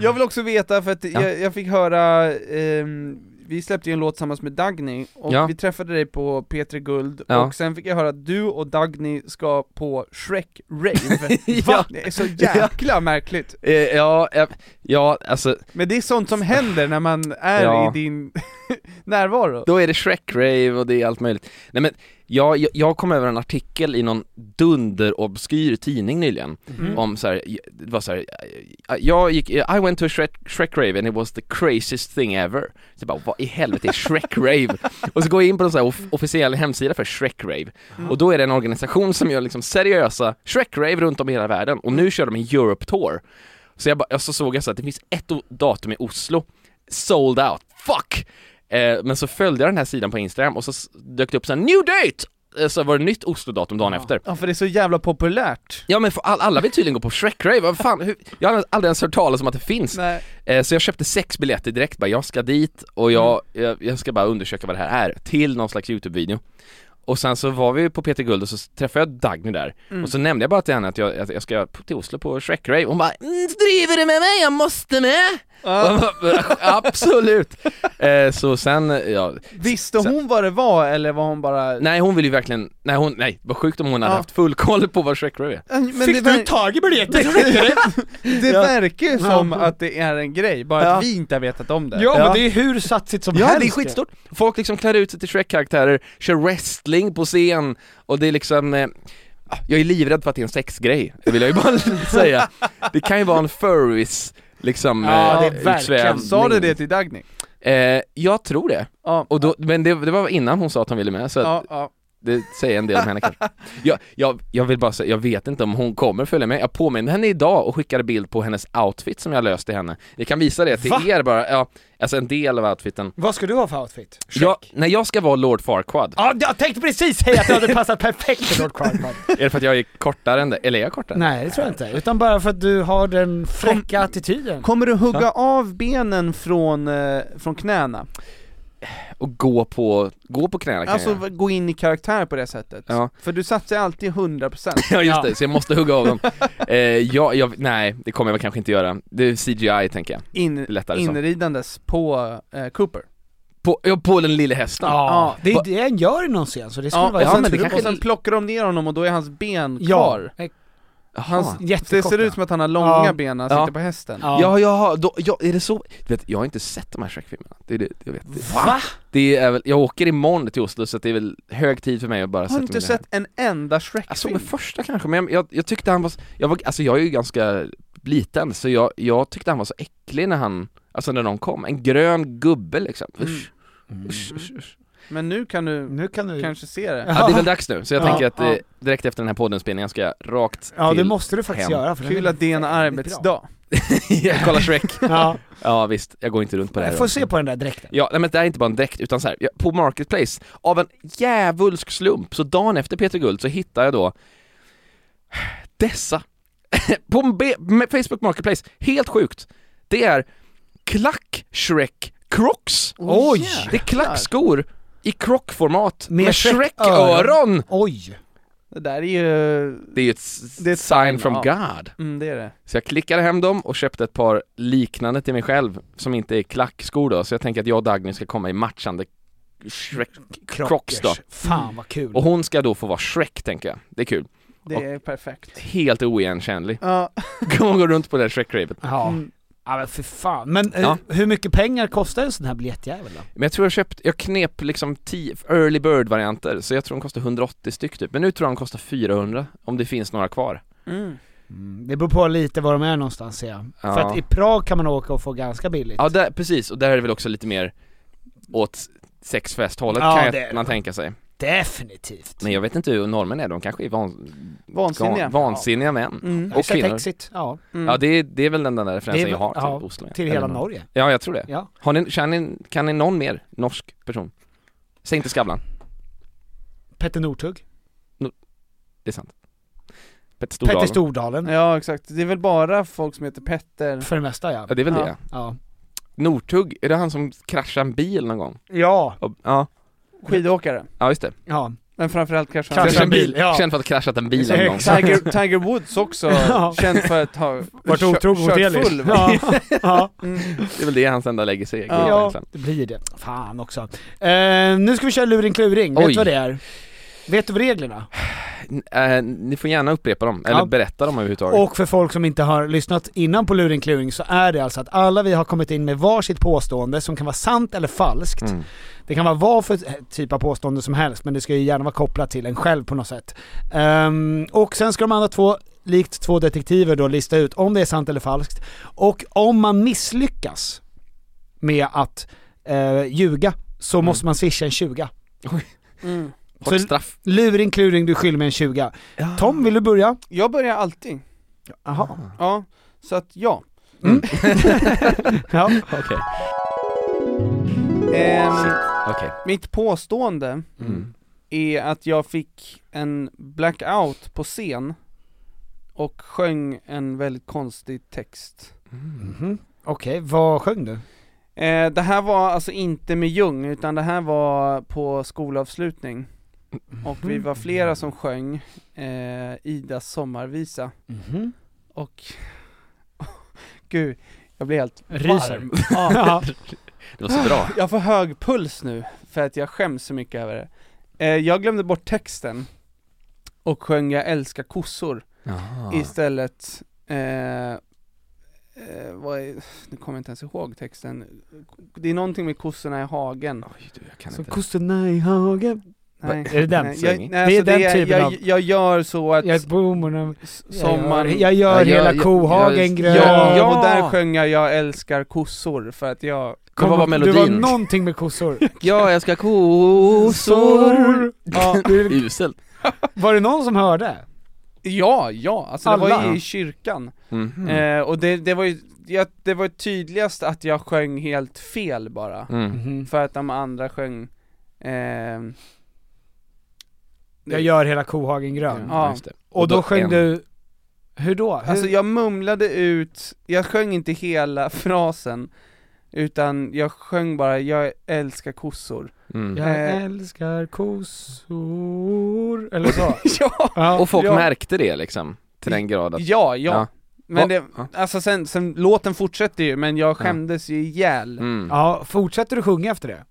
[SPEAKER 2] Jag vill också veta, för att
[SPEAKER 5] Ja.
[SPEAKER 2] jag, jag fick höra, ehm, vi släppte ju en låt tillsammans med Dagny, och
[SPEAKER 5] Ja.
[SPEAKER 2] vi träffade dig på P3 Guld,
[SPEAKER 5] Ja.
[SPEAKER 2] och sen fick jag höra att du och Dagny ska på Shrek Rave.
[SPEAKER 5] Ja.
[SPEAKER 2] Va? Det är så jäkla märkligt.
[SPEAKER 5] Eh, ja, eh, ja, alltså
[SPEAKER 2] Men det är sånt som händer när man är
[SPEAKER 5] Ja.
[SPEAKER 2] i din närvaro.
[SPEAKER 5] Då är det Shrek-rave och det är allt möjligt. Nej men, jag, jag- jag kom över en artikel i någon dunderobskyr tidning nyligen
[SPEAKER 1] Mm.
[SPEAKER 5] om så här, det var så här, jag gick, I went to a Shrek, Shrek-rave and it was the craziest thing ever. Så jag bara, vad i helvete är Shrek-rave? och så går jag in på en så här off- officiell hemsida för Shrek-rave och då är det en organisation som gör liksom seriösa Shrek-rave runt om i hela världen och nu kör de en Europe Tour. Så jag, bara, jag så såg jag så att det finns ett o- datum i Oslo, sold out, fuck! Eh, men så följde jag den här sidan på Instagram och så s- dök det upp så här, new date! Eh, Så var det nytt Oslo-datum dagen efter.
[SPEAKER 2] Ja, för det är så jävla populärt.
[SPEAKER 5] Ja men för all, alla vill tydligen gå på Shrek-rave, vad fan, hur, jag har aldrig ens hört talas om att det finns.
[SPEAKER 2] Nej.
[SPEAKER 5] Eh, så jag köpte sex biljetter direkt, bara jag ska dit och jag, jag, jag ska bara undersöka vad det här är, till någon slags YouTube-video. Och sen så var vi på Peter Guld och så träffade jag Dagny där, och så nämnde jag bara till henne att jag, att jag ska på- till Oslo på Shrek-rave, hon bara mm, driver du med mig, jag måste med!” Och jag bara, Absolut! Eh, så sen, ja,
[SPEAKER 2] Visste hon vad det var, eller var hon bara...
[SPEAKER 5] nej hon vill ju verkligen, nej hon, nej vad sjukt om hon hade
[SPEAKER 2] Ja.
[SPEAKER 5] haft full koll på vad Shrek-rave är.
[SPEAKER 2] Men
[SPEAKER 1] Fick
[SPEAKER 2] det
[SPEAKER 1] du
[SPEAKER 2] var-
[SPEAKER 1] tag i biljetten?
[SPEAKER 2] Det
[SPEAKER 1] Ja.
[SPEAKER 2] verkar ju som
[SPEAKER 1] Ja.
[SPEAKER 2] att det är en grej, bara
[SPEAKER 1] Ja.
[SPEAKER 2] att vi inte har vetat om det.
[SPEAKER 1] Ja, men det är hur satsigt som helst.
[SPEAKER 5] Ja det är skitstort! Folk liksom klär ut sig till Shrek-karaktärer, kör wrestling på scen och det är liksom eh, ah, jag är livrädd för att det är en sexgrej, det vill jag ju bara säga. Det kan ju vara en furries liksom
[SPEAKER 1] Ja,
[SPEAKER 5] eh,
[SPEAKER 1] det är verkligen.
[SPEAKER 5] utsvävning.
[SPEAKER 2] Sa du det till Dagny?
[SPEAKER 5] Eh, jag tror det.
[SPEAKER 2] Ja.
[SPEAKER 5] Och då, men det, det var innan hon sa att hon ville med så att
[SPEAKER 2] ja, ja.
[SPEAKER 5] det säger en del om henne kanske. Jag, jag, jag vill bara säga, jag vet inte om hon kommer följa med. Jag påminner henne idag och skickade bild på hennes outfit som jag löst till henne. Jag kan visa det till
[SPEAKER 1] Va?
[SPEAKER 5] er bara, ja, alltså en del av outfiten.
[SPEAKER 1] Vad ska du ha för outfit?
[SPEAKER 5] Jag, när jag ska vara Lord Farquaad,
[SPEAKER 1] Ja, jag tänkte precis säga att det hade passat perfekt för Lord Crown.
[SPEAKER 5] är det för att jag är kortare än det? Eller är jag kortare?
[SPEAKER 1] Nej, det tror jag inte. Utan bara för att du har den fräcka attityden.
[SPEAKER 2] Kommer du hugga av benen från, eh, från knäna?
[SPEAKER 5] Och gå på, gå på knäna kan
[SPEAKER 2] Alltså
[SPEAKER 5] jag.
[SPEAKER 2] v- gå in i karaktär på det sättet?
[SPEAKER 5] Ja.
[SPEAKER 2] För du satsar alltid 100%
[SPEAKER 5] Ja just
[SPEAKER 1] Ja.
[SPEAKER 5] det, så jag måste hugga av dem. eh, jag, jag, nej, det kommer jag väl kanske inte göra. Det är CGI tänker jag.
[SPEAKER 2] in,
[SPEAKER 5] Lättare så.
[SPEAKER 2] inridandes på eh, Cooper
[SPEAKER 5] På, ja, på den lille hästen.
[SPEAKER 1] Ja, det
[SPEAKER 5] Va-
[SPEAKER 1] är det han gör i någon scen så det skulle
[SPEAKER 2] Ja,
[SPEAKER 1] vara
[SPEAKER 2] och,
[SPEAKER 5] ja,
[SPEAKER 2] sen,
[SPEAKER 5] men det
[SPEAKER 2] och
[SPEAKER 5] kanske-
[SPEAKER 2] sen plockar de ner honom och då är hans ben
[SPEAKER 1] Ja,
[SPEAKER 2] kvar
[SPEAKER 1] eh,
[SPEAKER 5] Jaha.
[SPEAKER 2] hans, Det
[SPEAKER 1] jättekorta.
[SPEAKER 2] ser ut som att han har långa
[SPEAKER 1] Ja.
[SPEAKER 2] ben när han
[SPEAKER 5] Ja.
[SPEAKER 2] sitter på hästen
[SPEAKER 1] Ja.
[SPEAKER 5] Ja, jaha, då, ja, är det så? Du vet, jag har inte sett de här Shrek-filmerna. Det är det, jag vet. Det,
[SPEAKER 1] Va?
[SPEAKER 5] det är väl, jag åker imorgon till Oslo så att det är väl hög tid för mig att bara
[SPEAKER 2] Har
[SPEAKER 5] sätta
[SPEAKER 2] du inte
[SPEAKER 5] mig ner.
[SPEAKER 2] sett en enda
[SPEAKER 5] Jag såg
[SPEAKER 2] Shrek-film?
[SPEAKER 5] den första kanske, men jag, jag, jag tyckte han var, s- jag var, alltså jag är ju ganska liten, så jag, jag tyckte han var så äcklig när han, alltså när de kom. En grön gubbe liksom. Usch, usch, usch, usch.
[SPEAKER 2] Men nu kan du
[SPEAKER 1] Nu kan du...
[SPEAKER 2] kanske se det
[SPEAKER 5] Ja, det är väl dags nu, så jag
[SPEAKER 1] Ja,
[SPEAKER 5] tänker att
[SPEAKER 1] ja.
[SPEAKER 5] eh, direkt efter den här poddenspelningen ska jag rakt
[SPEAKER 1] Ja,
[SPEAKER 5] till
[SPEAKER 1] det måste du faktiskt
[SPEAKER 5] hem.
[SPEAKER 1] göra. För den
[SPEAKER 2] Kul
[SPEAKER 1] är
[SPEAKER 2] att det är en
[SPEAKER 1] väldigt bra.
[SPEAKER 2] arbetsdag
[SPEAKER 5] kolla Shrek.
[SPEAKER 1] Ja,
[SPEAKER 5] Ja visst, jag går inte runt på det här.
[SPEAKER 1] jag får se på den där dräkten.
[SPEAKER 5] Ja, nej, men det är inte bara en dräkt, utan så här, jag- på Marketplace, av en djävulsk slump, så dagen efter Peter Guld så hittar jag då dessa. på en be- med Facebook Marketplace, helt sjukt. Det är klack Shrek Crocs.
[SPEAKER 1] Oj!
[SPEAKER 5] Det är klackskor i krockformat
[SPEAKER 1] Med
[SPEAKER 5] med,
[SPEAKER 1] Shrek-öron.
[SPEAKER 5] Shrek-öron!
[SPEAKER 1] Oj!
[SPEAKER 2] Det där är ju...
[SPEAKER 5] Det är ju ett, s-
[SPEAKER 2] Det är ett
[SPEAKER 5] sign
[SPEAKER 2] sign,
[SPEAKER 5] from
[SPEAKER 2] ja.
[SPEAKER 5] God.
[SPEAKER 2] Mm, det är det.
[SPEAKER 5] Så jag klickade hem dem och köpte ett par liknande till mig själv, som inte är klackskor då, så jag tänker att jag och Dagny ska komma i matchande Shrek-crocs då.
[SPEAKER 1] Fan vad kul.
[SPEAKER 5] Och hon ska då få vara Shrek tänker jag, det är kul.
[SPEAKER 2] Det
[SPEAKER 5] Och-
[SPEAKER 2] är perfekt.
[SPEAKER 5] Helt oigenkännlig.
[SPEAKER 2] Ja,
[SPEAKER 5] Hon går runt på det där Shrek-ravet.
[SPEAKER 1] Ja.
[SPEAKER 2] Mm.
[SPEAKER 1] ja, men för fan. Men eh,
[SPEAKER 5] Ja.
[SPEAKER 1] hur mycket pengar kostar en sån här biljettjävel då?
[SPEAKER 5] Men jag tror jag köpt, jag knep liksom 10 early bird-varianter, så jag tror de kostar 180 styck typ. Men nu tror jag de kostar 400, om det finns några kvar.
[SPEAKER 2] mm.
[SPEAKER 1] Det beror på lite var de är någonstans ser jag.
[SPEAKER 5] Ja.
[SPEAKER 1] För att i Prag kan man åka och få ganska billigt.
[SPEAKER 5] Ja, där, precis, och där är det väl också lite mer åt sexfesthållet
[SPEAKER 1] Ja,
[SPEAKER 5] kan jag,
[SPEAKER 1] det är det.
[SPEAKER 5] man tänka sig.
[SPEAKER 1] Definitivt.
[SPEAKER 5] Men jag vet inte hur normen är, de kanske är van,
[SPEAKER 2] Vansinniga.
[SPEAKER 5] ga- vansinniga män.
[SPEAKER 1] Mm.
[SPEAKER 5] Och
[SPEAKER 1] Och
[SPEAKER 5] kvinnor.
[SPEAKER 1] Exit. Ja.
[SPEAKER 5] Ja det, är- det är väl den där
[SPEAKER 1] Mm. Det är
[SPEAKER 5] referensen
[SPEAKER 1] väl-
[SPEAKER 5] jag har till
[SPEAKER 1] ja,
[SPEAKER 5] Oslo.
[SPEAKER 1] till
[SPEAKER 5] Eller
[SPEAKER 1] hela
[SPEAKER 5] någon-
[SPEAKER 1] Norge.
[SPEAKER 5] Ja jag tror det.
[SPEAKER 1] Ja.
[SPEAKER 5] Har ni, kan, ni, kan ni någon mer norsk person? Säg inte Skavlan,
[SPEAKER 1] Petter Northug.
[SPEAKER 5] det är sant. Petter Stordalen.
[SPEAKER 1] Petter Stordalen.
[SPEAKER 2] Ja exakt, det är väl bara folk som heter Petter
[SPEAKER 1] För det mesta ja.
[SPEAKER 5] Ja, det är väl
[SPEAKER 1] ja.
[SPEAKER 5] det.
[SPEAKER 1] Ja.
[SPEAKER 5] Northug, är det han som kraschar en bil någon gång?
[SPEAKER 1] Ja.
[SPEAKER 5] Och- Ja,
[SPEAKER 2] Skidåkare,
[SPEAKER 5] ja just det.
[SPEAKER 1] ja.
[SPEAKER 2] men framförallt kanske han-
[SPEAKER 1] Kraschar en bil, ja.
[SPEAKER 5] Känd för att ha kraschat en bil en gång.
[SPEAKER 1] Exakt.
[SPEAKER 2] Tiger, Tiger Woods också,
[SPEAKER 1] Ja.
[SPEAKER 2] känd för att ha
[SPEAKER 1] Vart
[SPEAKER 2] kö-
[SPEAKER 1] otrogen mot
[SPEAKER 2] kört
[SPEAKER 1] Elis.
[SPEAKER 2] full va? Mm.
[SPEAKER 1] Ja. ja.
[SPEAKER 5] Det är väl det hans enda legacy liksom. är.
[SPEAKER 2] Ja.
[SPEAKER 1] ja,
[SPEAKER 5] egentligen.
[SPEAKER 1] det blir det. Fan också. Eh, nu ska vi köra luring kluring. Vet
[SPEAKER 5] Oj.
[SPEAKER 1] du vad det är? Vet du vad reglerna?
[SPEAKER 5] N- eh, ni får gärna upprepa dem, eller
[SPEAKER 1] Ja.
[SPEAKER 5] berätta dem överhuvudtaget.
[SPEAKER 1] Och för folk som inte har lyssnat innan på luring kluring så är det alltså att alla vi har kommit in med varsitt påstående som kan vara sant eller falskt.
[SPEAKER 5] Mm.
[SPEAKER 1] Det kan vara vad för typ av påstående som helst, men det ska ju gärna vara kopplat till en själv på något sätt. Ehm, och sen ska de andra två, likt två detektiver då, lista ut om det är sant eller falskt. Och om man misslyckas med att eh, ljuga så måste man swisha en 20.
[SPEAKER 2] Mm.
[SPEAKER 5] Mm. Hårt
[SPEAKER 1] så-
[SPEAKER 5] straff.
[SPEAKER 1] Luring kluring, du skyller mig en 20. Tom, vill du börja?
[SPEAKER 2] Jag börjar alltid,
[SPEAKER 1] Jaha.
[SPEAKER 2] ja, så att ja
[SPEAKER 1] Ja.
[SPEAKER 5] Okej.
[SPEAKER 2] Ehm,
[SPEAKER 5] Okej.
[SPEAKER 2] Mitt påstående
[SPEAKER 5] Mm.
[SPEAKER 2] är att jag fick en blackout på scen och sjöng en väldigt konstig text
[SPEAKER 1] Mhm. Okej, vad sjöng du?
[SPEAKER 2] eh, Det här var alltså inte med Ljung, utan det här var på skolavslutning Och vi var flera som sjöng eh, Idas sommarvisa
[SPEAKER 1] Mhm.
[SPEAKER 2] och Gud, jag blir helt
[SPEAKER 1] Ryser.
[SPEAKER 2] varm ja,
[SPEAKER 1] Ja.
[SPEAKER 5] Det var så bra.
[SPEAKER 2] Jag får hög puls nu för att jag skäms så mycket över det eh, Jag glömde bort texten och sjöng 'Jag älskar kossor'
[SPEAKER 1] Ah.
[SPEAKER 2] istället eh, eh, vad är, Nu kommer jag inte ens ihåg texten Det är någonting med kossorna i hagen
[SPEAKER 5] Oj, du, jag kan
[SPEAKER 1] Som
[SPEAKER 5] inte.
[SPEAKER 1] kossorna i hagen.
[SPEAKER 2] Nej,
[SPEAKER 1] Är det den?
[SPEAKER 2] nej,
[SPEAKER 5] Säng?
[SPEAKER 2] jag, nej,
[SPEAKER 1] Det är
[SPEAKER 2] alltså
[SPEAKER 1] den
[SPEAKER 2] det,
[SPEAKER 1] typen
[SPEAKER 2] jag,
[SPEAKER 1] av-
[SPEAKER 2] jag gör så att
[SPEAKER 1] Jag är blommorna.
[SPEAKER 2] sommaren
[SPEAKER 1] jag gör
[SPEAKER 5] jag gör-
[SPEAKER 1] hela
[SPEAKER 5] jag-
[SPEAKER 1] kohagen
[SPEAKER 5] jag-
[SPEAKER 1] grön.
[SPEAKER 2] Ja, och där sjöng jag 'Jag älskar kossor' för att jag
[SPEAKER 5] Men vad
[SPEAKER 1] Du var
[SPEAKER 5] var melodin?
[SPEAKER 1] någonting med kossor.
[SPEAKER 5] Ja, jag ska kossor.
[SPEAKER 2] Ja,
[SPEAKER 5] Uselt.
[SPEAKER 1] Var det någon som hörde?
[SPEAKER 2] ja, ja alltså det var
[SPEAKER 1] Alla?
[SPEAKER 2] ju i kyrkan
[SPEAKER 5] Mhm.
[SPEAKER 2] eh, och det, det var ju, jag, det var ju tydligast att jag sjöng helt fel bara
[SPEAKER 5] Mm.
[SPEAKER 2] För att de andra sjöng ehm,
[SPEAKER 1] Jag gör hela kohagen grön.
[SPEAKER 5] Ja, just det.
[SPEAKER 1] Och, då, sjöng
[SPEAKER 5] en.
[SPEAKER 1] du... Hur då? Hur?
[SPEAKER 2] Alltså jag mumlade ut, jag sjöng inte hela frasen Utan jag sjöng bara 'Jag älskar kossor'
[SPEAKER 5] Mm.
[SPEAKER 1] jag
[SPEAKER 2] eh.
[SPEAKER 1] älskar kossor. Eller så.
[SPEAKER 2] Ja!
[SPEAKER 1] ja.
[SPEAKER 5] Och folk
[SPEAKER 2] Ja.
[SPEAKER 5] märkte det liksom, till den grad att...
[SPEAKER 2] Ja, ja,
[SPEAKER 5] Ja.
[SPEAKER 2] Men det,
[SPEAKER 5] Ja.
[SPEAKER 2] alltså sen, sen, låten fortsätter ju men jag skämdes ju ihjäl
[SPEAKER 5] Mm.
[SPEAKER 1] ja, fortsätter du sjunga efter det?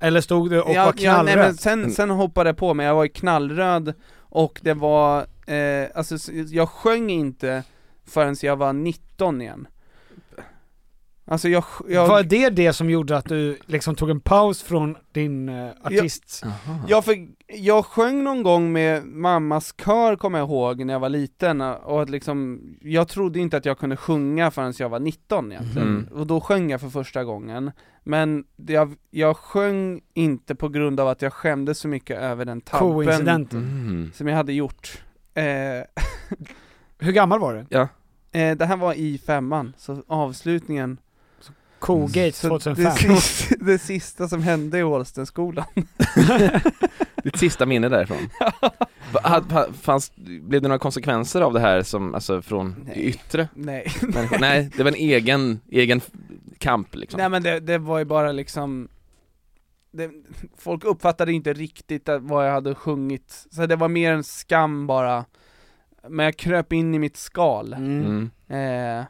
[SPEAKER 1] Eller stod du och var
[SPEAKER 2] ja, ja, nej,
[SPEAKER 1] knallröd? Mm.
[SPEAKER 2] men sen, sen hoppade jag på mig, jag var ju knallröd och det var, eh, alltså s- jag sjöng inte förrän jag var 19 igen Alltså jag, sj- jag
[SPEAKER 1] Var det det som gjorde att du liksom tog en paus från din eh, artist...
[SPEAKER 2] Jag, fick, jag sjöng någon gång med mammas kör kommer jag ihåg när jag var liten och att liksom, jag trodde inte att jag kunde sjunga förrän jag var 19
[SPEAKER 1] Mhm.
[SPEAKER 2] egentligen,
[SPEAKER 5] Mm.
[SPEAKER 2] och då sjöng jag för första gången Men det- jag, jag sjöng inte på grund av att jag skämdes så mycket över den tabben
[SPEAKER 1] Koincidenten.
[SPEAKER 5] Mm.
[SPEAKER 2] som jag hade gjort eh,
[SPEAKER 1] Hur gammal var du?
[SPEAKER 2] eh, Det här var i femman, så avslutningen
[SPEAKER 1] Kogates
[SPEAKER 2] så
[SPEAKER 1] 2005.
[SPEAKER 2] det, sista, det sista som hände i Ålstenskolan
[SPEAKER 5] Ditt sista minne därifrån. Va- ha- ha- Fanns, blev det några konsekvenser av det här som, alltså från
[SPEAKER 2] Nej.
[SPEAKER 5] yttre
[SPEAKER 2] Nej
[SPEAKER 5] människor? Nej, det var en egen, egen f- kamp liksom.
[SPEAKER 2] Nej men det, det var ju bara liksom det, Folk uppfattade inte riktigt att- vad jag hade sjungit, så det var mer en skam bara Men jag kröp in i mitt skal
[SPEAKER 5] Mm.
[SPEAKER 2] eh,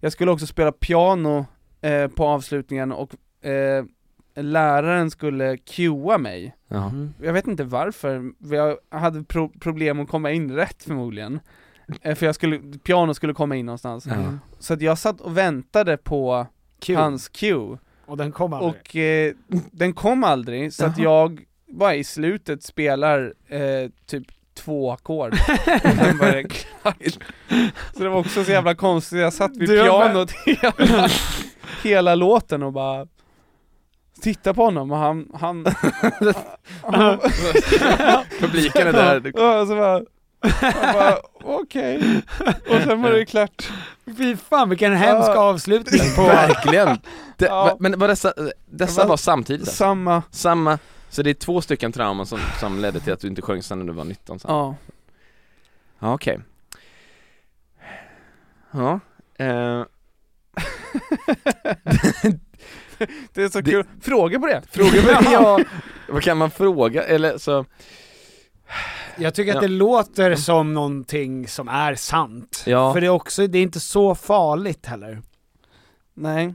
[SPEAKER 2] Jag skulle också spela piano eh, på avslutningen och eh, läraren skulle cuea mig
[SPEAKER 5] Ja.
[SPEAKER 2] Jag vet inte varför, jag hade pro- problem att komma in rätt förmodligen eh, För jag skulle, piano skulle komma in någonstans
[SPEAKER 5] Ja.
[SPEAKER 2] Så att jag satt och väntade på
[SPEAKER 1] Kul.
[SPEAKER 2] hans cue
[SPEAKER 1] Och den kom aldrig.
[SPEAKER 2] och eh, den kom aldrig, så att jag bara i slutet spelar eh, typ två ackord Och sen var det klart. Så det var också så jävla konstigt, jag satt vid
[SPEAKER 1] Du har-
[SPEAKER 2] pianot hela, hela låten och bara tittar på honom och han, han... han-
[SPEAKER 5] Publiken är där.
[SPEAKER 2] Ja, och så bara, han bara okej, och sen var det klart.
[SPEAKER 1] Fy fan vilken hemsk
[SPEAKER 2] Ja.
[SPEAKER 1] avslutning på...
[SPEAKER 5] Verkligen! Det,
[SPEAKER 2] Ja.
[SPEAKER 5] va- Men var dessa, eh, dessa
[SPEAKER 2] var
[SPEAKER 5] var samtidigt alltså.
[SPEAKER 2] Samma,
[SPEAKER 5] Samma, så det är två stycken trauman som, som ledde till att du inte sjöng sen när du var 19 sen.
[SPEAKER 2] ja.
[SPEAKER 5] Ja, okej. Ja, eh,
[SPEAKER 2] Det är så
[SPEAKER 5] Det-
[SPEAKER 2] kul, fråga på det!
[SPEAKER 5] fråga mig Vad kan man fråga? Eller så,
[SPEAKER 1] Jag tycker att
[SPEAKER 5] Ja.
[SPEAKER 1] det låter som någonting som är sant.
[SPEAKER 5] Ja.
[SPEAKER 1] För det är också, det är inte så farligt heller.
[SPEAKER 2] Nej.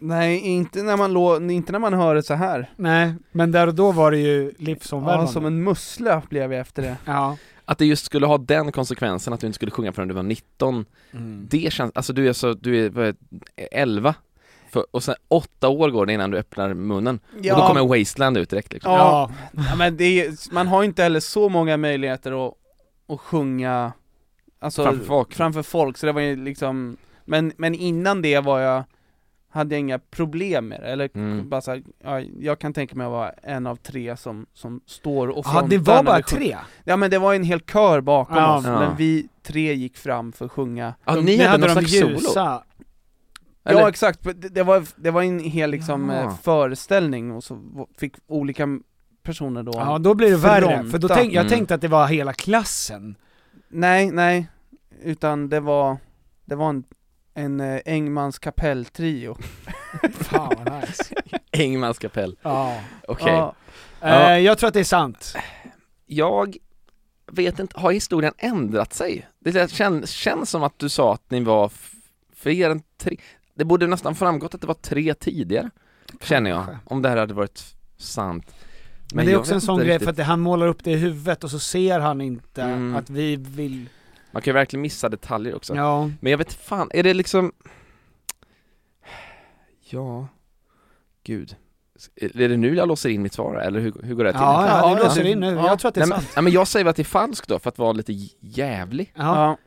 [SPEAKER 2] Nej, inte när man, lå- inte när man hör det så här.
[SPEAKER 1] Nej, men där och då var det ju livsomvälvande.
[SPEAKER 2] Ja, som en mussla blev jag efter det.
[SPEAKER 1] Ja.
[SPEAKER 5] att det just skulle ha den konsekvensen att du inte skulle sjunga förrän du var 19 Det känns, alltså du är så, du är, vad är 11 för, och sen åtta år går det innan du öppnar munnen och då kommer Wasteland ut direkt liksom.
[SPEAKER 2] ja. ja, men det är, man har ju inte heller så många möjligheter att, att sjunga alltså,
[SPEAKER 5] Framför folk.
[SPEAKER 2] framför folk, så det var ju liksom Men, men innan det var jag hade jag inga problem med det, eller
[SPEAKER 5] Mm.
[SPEAKER 2] bara så här, ja, jag kan tänka mig att vara en av tre som, som står och
[SPEAKER 1] Ja, det
[SPEAKER 2] frontar
[SPEAKER 1] var
[SPEAKER 2] när
[SPEAKER 1] bara
[SPEAKER 2] vi sjunger.
[SPEAKER 1] tre.
[SPEAKER 2] Ja men det var ju en hel kör bakom
[SPEAKER 1] Ja.
[SPEAKER 2] oss,
[SPEAKER 5] Ja.
[SPEAKER 2] men vi tre gick fram för att sjunga
[SPEAKER 5] Ja, ni
[SPEAKER 1] Det
[SPEAKER 5] hade, någon
[SPEAKER 1] de
[SPEAKER 5] slags solo?
[SPEAKER 1] ljusa.
[SPEAKER 5] Eller?
[SPEAKER 2] Ja exakt, det- det var, det var en hel liksom
[SPEAKER 5] Ja.
[SPEAKER 2] eh, föreställning och så v- fick olika personer då
[SPEAKER 1] Ja, då blir det värre. För då
[SPEAKER 2] Fronta.
[SPEAKER 1] tänk, jag
[SPEAKER 5] Mm.
[SPEAKER 1] tänkte att det var hela klassen.
[SPEAKER 2] Nej, nej, utan det var, det var en, en eh, Engmans kapelltrio
[SPEAKER 1] Fan vad nice.
[SPEAKER 5] Engmans kapell,
[SPEAKER 1] Ja.
[SPEAKER 5] okej
[SPEAKER 2] ja,
[SPEAKER 5] Ja.
[SPEAKER 1] Eh, jag tror att det är sant.
[SPEAKER 5] Jag vet inte, har historien ändrat sig? Det där kän, känns som att du sa att ni var f- fler än tre Det borde nästan framgått att det var tre tidigare, känner jag, om det här hade varit sant
[SPEAKER 1] Men, det är
[SPEAKER 5] jag
[SPEAKER 1] också en
[SPEAKER 5] vet
[SPEAKER 1] sån
[SPEAKER 5] inte
[SPEAKER 1] grej
[SPEAKER 5] riktigt.
[SPEAKER 1] för att det- han målar upp det i huvudet och så ser han inte
[SPEAKER 5] Mm.
[SPEAKER 1] att vi vill...
[SPEAKER 5] Man kan ju verkligen missa detaljer också
[SPEAKER 1] Ja.
[SPEAKER 5] Men jag vet fan, är det liksom Ja, gud Är det nu jag låser in mitt svar eller hur, hur går det till?
[SPEAKER 1] Ja, ja,
[SPEAKER 2] Ja,
[SPEAKER 1] det låser
[SPEAKER 2] ja.
[SPEAKER 1] in nu.
[SPEAKER 2] Ja.
[SPEAKER 1] Jag tror att det är
[SPEAKER 5] nej, men,
[SPEAKER 1] sant.
[SPEAKER 5] nej men jag säger väl att det är falskt då för att vara lite j- jävlig
[SPEAKER 1] Ja.
[SPEAKER 2] ja.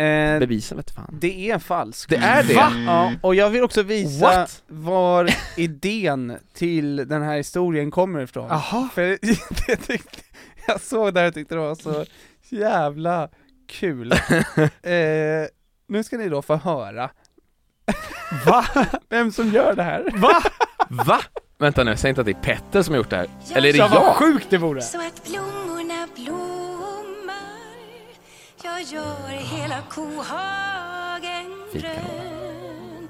[SPEAKER 2] Eh,
[SPEAKER 5] Bevisen vet fan
[SPEAKER 2] Det är falskt
[SPEAKER 5] Det är det?
[SPEAKER 2] Va? Ja, och jag vill också visa
[SPEAKER 5] What?
[SPEAKER 2] var idén till den här historien kommer ifrån
[SPEAKER 1] Jaha.
[SPEAKER 2] För jag, tyckte, jag såg det här och tyckte det var så jävla kul. Eh, nu ska ni då få höra
[SPEAKER 1] Va?
[SPEAKER 2] vem som gör det här.
[SPEAKER 1] Va?
[SPEAKER 5] Va? Vänta nu, säg inte att det är Petter som har gjort det här
[SPEAKER 6] Ja,
[SPEAKER 5] Eller är det
[SPEAKER 1] Ja, vad
[SPEAKER 5] jag?
[SPEAKER 1] sjukt det vore!
[SPEAKER 6] Så att blommorna blommar Jag gör hela kohagen grön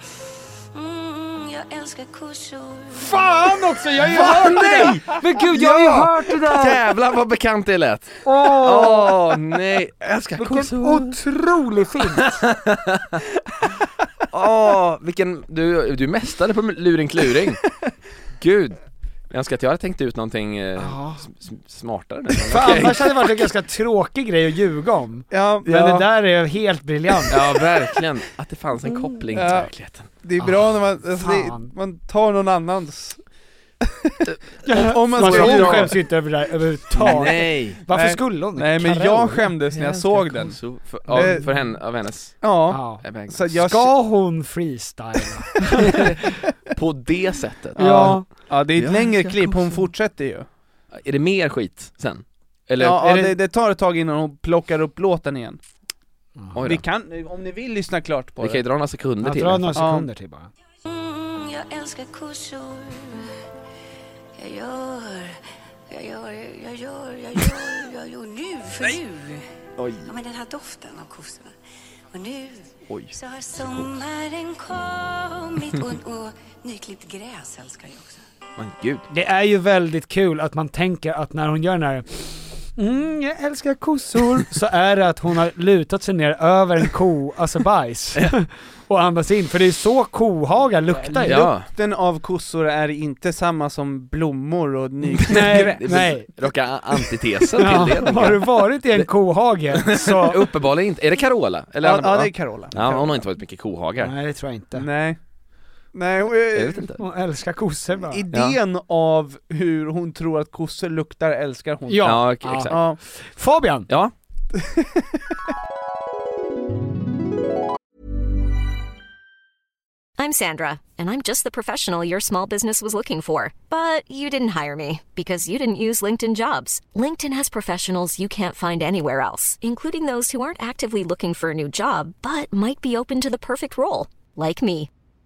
[SPEAKER 6] mm, Jag älskar kossor
[SPEAKER 1] Fan också! Jag har ju hört det! där! Men gud, jag har ju hört det där!
[SPEAKER 5] Jävlar vad bekant det lät!
[SPEAKER 1] Åh,
[SPEAKER 5] Åh nej, jag älskar
[SPEAKER 1] vilken
[SPEAKER 5] kossor!
[SPEAKER 1] otrolig film!
[SPEAKER 5] Åh, Ah, vilken, du, du är mästare på luring kluring Gud, jag önskar att jag hade tänkt ut någonting eh,
[SPEAKER 1] Ja.
[SPEAKER 5] s- s- smartare nu men
[SPEAKER 1] För
[SPEAKER 5] okej.
[SPEAKER 1] annars hade det varit en ganska tråkig grej att ljuga om.
[SPEAKER 2] Ja,
[SPEAKER 1] Men det där är helt briljant.
[SPEAKER 5] Ja verkligen, att det fanns en koppling till
[SPEAKER 2] Ja.
[SPEAKER 5] verkligheten
[SPEAKER 2] det är bra när man, alltså
[SPEAKER 1] Ah, fan.
[SPEAKER 2] det, man tar någon annans. om man
[SPEAKER 1] man
[SPEAKER 2] ska
[SPEAKER 1] hon
[SPEAKER 2] dra-
[SPEAKER 1] skäms ju inte över det här överhuvudtaget.
[SPEAKER 5] Nej!
[SPEAKER 1] Varför
[SPEAKER 2] Nej.
[SPEAKER 1] skulle hon det?
[SPEAKER 2] Nej men
[SPEAKER 1] Karol.
[SPEAKER 2] jag skämdes när jag såg den.
[SPEAKER 5] Så för, ja,
[SPEAKER 2] Eh.
[SPEAKER 5] för henne, av hennes
[SPEAKER 2] Ja,
[SPEAKER 1] Ja.
[SPEAKER 5] eh, väg.
[SPEAKER 2] så jag,
[SPEAKER 1] Ska hon freestyla?
[SPEAKER 5] På det sättet,
[SPEAKER 1] ja.
[SPEAKER 2] ja det är ett
[SPEAKER 5] Ja,
[SPEAKER 2] längre
[SPEAKER 5] jag
[SPEAKER 2] klipp, hon
[SPEAKER 5] kossor.
[SPEAKER 2] fortsätter ju.
[SPEAKER 5] är det mer skit sen? Eller?
[SPEAKER 2] Ja, ja
[SPEAKER 5] är det,
[SPEAKER 2] det, det tar ett tag innan hon plockar upp låten igen.
[SPEAKER 5] oj
[SPEAKER 2] Vi
[SPEAKER 5] då.
[SPEAKER 2] kan, om ni vill lyssna klart på
[SPEAKER 5] Vi kan ju
[SPEAKER 2] det.
[SPEAKER 5] dra några sekunder
[SPEAKER 1] Jag
[SPEAKER 5] till
[SPEAKER 1] drar några
[SPEAKER 2] Ja.
[SPEAKER 1] sekunder till bara.
[SPEAKER 6] mm, Jag älskar kossor Jag gör, jag gör, jag gör, jag gör, jag gör nu för nu
[SPEAKER 5] Oj,
[SPEAKER 6] Ja men den här doften av kossorna Och nu
[SPEAKER 5] oj
[SPEAKER 6] Så har sommaren kommit och, och nyklippt gräs älskar jag också.
[SPEAKER 5] men gud
[SPEAKER 1] Det är ju väldigt kul att man tänker att när hon gör den här Mm, jag älskar kossor. Så är det att hon har lutat sig ner över en ko, alltså bajs. Och andas in, för det är så kohagar luktar ju.
[SPEAKER 5] Ja,
[SPEAKER 2] Doften av kossor är inte samma som blommor och nyklippt
[SPEAKER 1] Nej,
[SPEAKER 2] gräs.
[SPEAKER 1] nej.
[SPEAKER 5] raka antitesen
[SPEAKER 1] Ja,
[SPEAKER 5] till det
[SPEAKER 1] har du
[SPEAKER 5] tänker
[SPEAKER 1] varit i en kohage
[SPEAKER 5] jag.
[SPEAKER 1] så...
[SPEAKER 5] Uppenbarligen inte, är det Carola? Eller
[SPEAKER 2] Ja,
[SPEAKER 5] Anna-
[SPEAKER 2] ja, det är Carola.
[SPEAKER 5] Ja, men hon har inte varit mycket kohagar
[SPEAKER 1] Nej det tror jag inte.
[SPEAKER 2] Nej. Nej, och,
[SPEAKER 5] Jag
[SPEAKER 2] eh,
[SPEAKER 5] vet inte
[SPEAKER 1] Hon älskar kossor bara.
[SPEAKER 2] idén av hur hon tror att kossor luktar älskar hon.
[SPEAKER 1] Ja.
[SPEAKER 5] Ja, ok- exakt
[SPEAKER 2] Ja.
[SPEAKER 1] Fabian!
[SPEAKER 5] Ja,
[SPEAKER 9] I'm Sandra, and I'm just the professional your small business was looking for. But you didn't hire me because you didn't use LinkedIn jobs. LinkedIn has professionals you can't find anywhere else, including those who aren't actively looking for a new job but might be open to the perfect role, like me.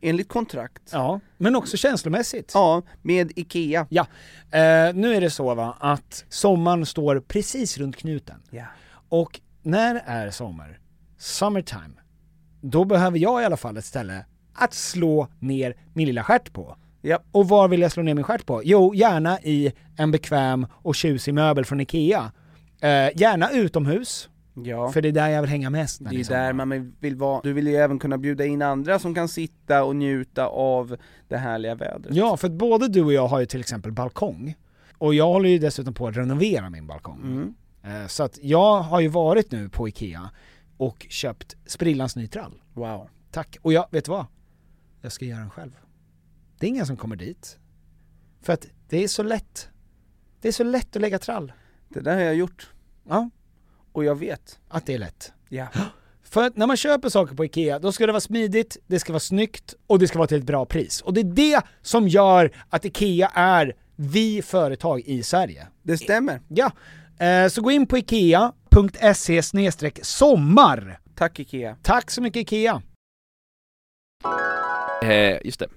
[SPEAKER 2] enligt kontrakt.
[SPEAKER 1] Ja, men också känslomässigt.
[SPEAKER 2] Ja, med IKEA.
[SPEAKER 1] Ja, eh, nu är det så va att sommaren står precis runt knuten.
[SPEAKER 2] Ja.
[SPEAKER 1] Och när är sommar? Summertime. Då behöver jag i alla fall ett ställe att slå ner min lilla stjärt på.
[SPEAKER 2] Ja.
[SPEAKER 1] Och var vill jag slå ner min stjärt på? Jo, gärna i en bekväm och tjusig möbel från IKEA. Eh, gärna utomhus,
[SPEAKER 2] Ja.
[SPEAKER 1] för det är där jag vill hänga mest. när
[SPEAKER 2] Det är
[SPEAKER 1] sommar.
[SPEAKER 2] där man vill vara. Du vill ju även kunna bjuda in andra som kan sitta och njuta av det härliga vädret.
[SPEAKER 1] Ja, för att både du och jag har ju till exempel balkong. Och jag håller ju dessutom på att renovera min balkong. Eh, Så att jag har ju varit nu på IKEA och köpt sprillans ny trall.
[SPEAKER 2] Wow.
[SPEAKER 1] Tack. Och jag, vet du vad? Jag ska göra den själv. Det är ingen som kommer dit. För att det är så lätt. Det är så lätt att lägga trall.
[SPEAKER 2] Det där har jag gjort.
[SPEAKER 1] Ja.
[SPEAKER 2] Och jag vet.
[SPEAKER 1] Att det är lätt.
[SPEAKER 2] Ja.
[SPEAKER 1] För att när man köper saker på IKEA, då ska det vara smidigt, det ska vara snyggt och det ska vara till ett bra pris. Och det är det som gör att IKEA är vi företag i Sverige.
[SPEAKER 2] Det stämmer.
[SPEAKER 1] Ja. Eh, Så gå in på IKEA.se sommar.
[SPEAKER 2] Tack IKEA.
[SPEAKER 1] Tack så mycket IKEA.
[SPEAKER 5] Eh, just det.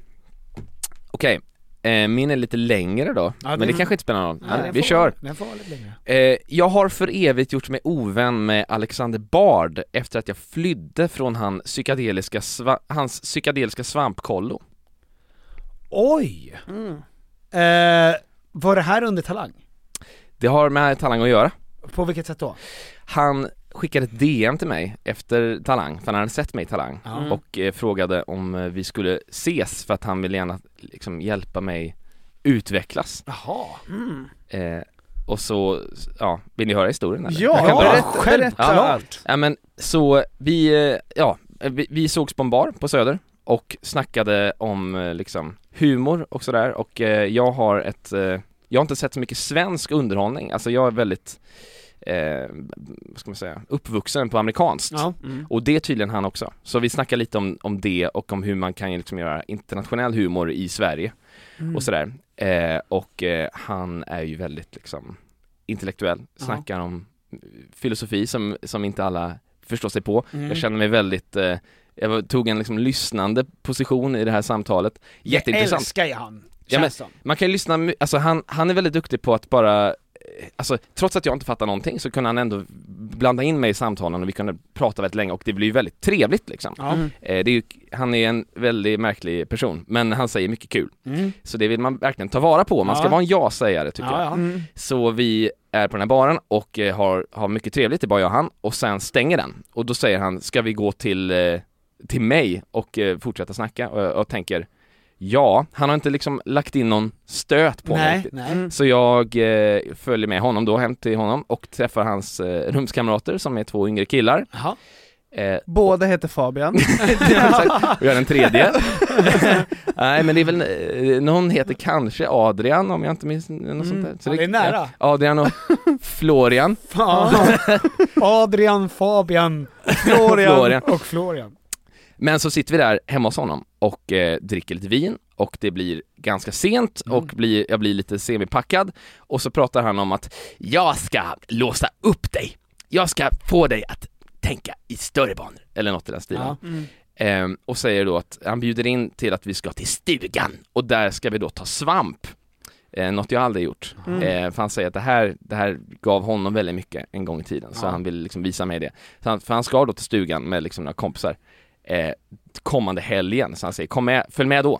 [SPEAKER 5] Okej, eh, min är lite längre då, men det
[SPEAKER 1] den-
[SPEAKER 5] kanske inte spelar någon roll.
[SPEAKER 1] Nej,
[SPEAKER 5] Ja,
[SPEAKER 1] den
[SPEAKER 5] vi
[SPEAKER 1] får-
[SPEAKER 5] kör.
[SPEAKER 1] den får vara lite längre.
[SPEAKER 5] Eh, jag har för evigt gjort mig ovän med Alexander Bard efter att jag flydde från han psykedeliska sva- hans psykedeliska svampkollo.
[SPEAKER 1] Oj!
[SPEAKER 5] Mm.
[SPEAKER 1] Eh, var det här under Talang?
[SPEAKER 5] Det har med Talang att göra.
[SPEAKER 1] På vilket sätt då?
[SPEAKER 5] Han skickade ett DM till mig efter Talang, för han hade sett mig i Talang
[SPEAKER 1] Ja.
[SPEAKER 5] och eh, frågade om eh, vi skulle ses för att han ville gärna liksom, hjälpa mig utvecklas.
[SPEAKER 1] Jaha. mm.
[SPEAKER 5] Eh, och så, ja, vill ni höra historien eller?
[SPEAKER 2] Ja,
[SPEAKER 5] Jag kan
[SPEAKER 2] berätta- berätta allt.
[SPEAKER 5] Ja men så, vi, eh, ja, vi, vi sågs på en bar på Söder och snackade om eh, liksom humor och sådär och eh, jag har ett, eh, jag har inte sett så mycket svensk underhållning, alltså jag är väldigt Eh, vad ska man säga, uppvuxen på amerikanskt.
[SPEAKER 1] Ja. Mm.
[SPEAKER 5] Och det är tydligen han också. Så vi snackar lite om, om det och om hur man kan ju liksom göra internationell humor i Sverige
[SPEAKER 1] Mm.
[SPEAKER 5] och sådär. Eh, och eh, han är ju väldigt liksom intellektuell, snackar om eh, filosofi som, som inte alla förstår sig på.
[SPEAKER 1] Mm.
[SPEAKER 5] Jag känner mig väldigt, eh, jag var- tog en liksom lyssnande position i det här samtalet. Jätteintressant.
[SPEAKER 1] Älskar jag han,
[SPEAKER 5] Ja, men,
[SPEAKER 1] känns som.
[SPEAKER 5] man kan ju lyssna, my- alltså han, han är väldigt duktig på att bara eh, Alltså trots att jag inte fattar någonting så kunde han ändå blanda in mig i samtalen och vi kunde prata väldigt länge och det blir ju väldigt trevligt liksom.
[SPEAKER 1] Ja. Mm.
[SPEAKER 5] Eh, det är ju, han är en väldigt märklig person men han säger mycket kul.
[SPEAKER 1] Mm.
[SPEAKER 5] Så det vill man verkligen ta vara på, man ska
[SPEAKER 1] Ja.
[SPEAKER 5] vara en ja-sägare tycker
[SPEAKER 1] Ja,
[SPEAKER 5] jag.
[SPEAKER 1] ja. Mm.
[SPEAKER 5] Så vi är på den här baren och eh, har, har mycket trevligt, det är bara jag och han, och sen stänger den. Och då säger han, ska vi gå till, eh, till mig och eh, fortsätta snacka? Och jag och tänker, ja, han har inte liksom lagt in någon stöt på
[SPEAKER 1] Nej,
[SPEAKER 5] mig riktigt.
[SPEAKER 1] nej.
[SPEAKER 5] Så jag eh, följer med honom då hem till honom och träffar hans eh, rumskamrater som är två yngre killar. Eh,
[SPEAKER 2] Båda heter Fabian.
[SPEAKER 5] och jag är den tredje. Nej men det är väl,
[SPEAKER 1] Mm.
[SPEAKER 5] eh, någon heter kanske Adrian om jag inte minns något sånt där.
[SPEAKER 1] Ja, det är nära.
[SPEAKER 5] Adrian och
[SPEAKER 3] Florian.
[SPEAKER 1] Fan. Adrian, Fabian, Florian,
[SPEAKER 3] Florian.
[SPEAKER 1] och Florian.
[SPEAKER 3] Men så sitter vi där hemma hos honom och eh, dricker lite vin och det blir ganska sent och blir, jag blir lite semipackad och så pratar han om att jag ska låsa upp dig. Jag ska få dig att tänka i större banor eller något i den stilen.
[SPEAKER 5] Ja. Mm.
[SPEAKER 3] Ehm, och säger då att han bjuder in till att vi ska till stugan och där ska vi då ta svamp. Eh, något jag aldrig gjort.
[SPEAKER 5] Mm.
[SPEAKER 3] Eh, för han säger att det här, det här gav honom väldigt mycket en gång i tiden, så
[SPEAKER 5] Ja.
[SPEAKER 3] han vill liksom visa mig det. Så han, för han ska då till stugan med liksom några kompisar eh, kommande helgen, så han säger kom med, följ med då.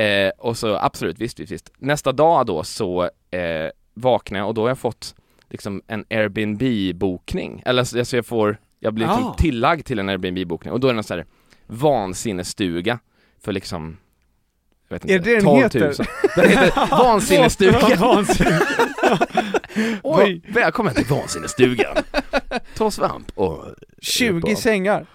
[SPEAKER 3] Eh, och så absolut, visst, visst, visst. Nästa dag då så eh, vaknar jag och då har jag fått liksom en Airbnb-bokning. Eller så alltså jag får, jag blir liksom
[SPEAKER 5] Ah.
[SPEAKER 3] tillagd till en Airbnb-bokning och då är det någon sån här vansinnesstuga för liksom jag vet inte,
[SPEAKER 2] Är det den
[SPEAKER 3] 12 000.
[SPEAKER 2] heter?
[SPEAKER 3] Den heter Vansinnesstugan.
[SPEAKER 2] Vansinne-
[SPEAKER 3] Oj! Välkommen till Vansinnesstugan. Ta svamp och...
[SPEAKER 2] 20 sängar.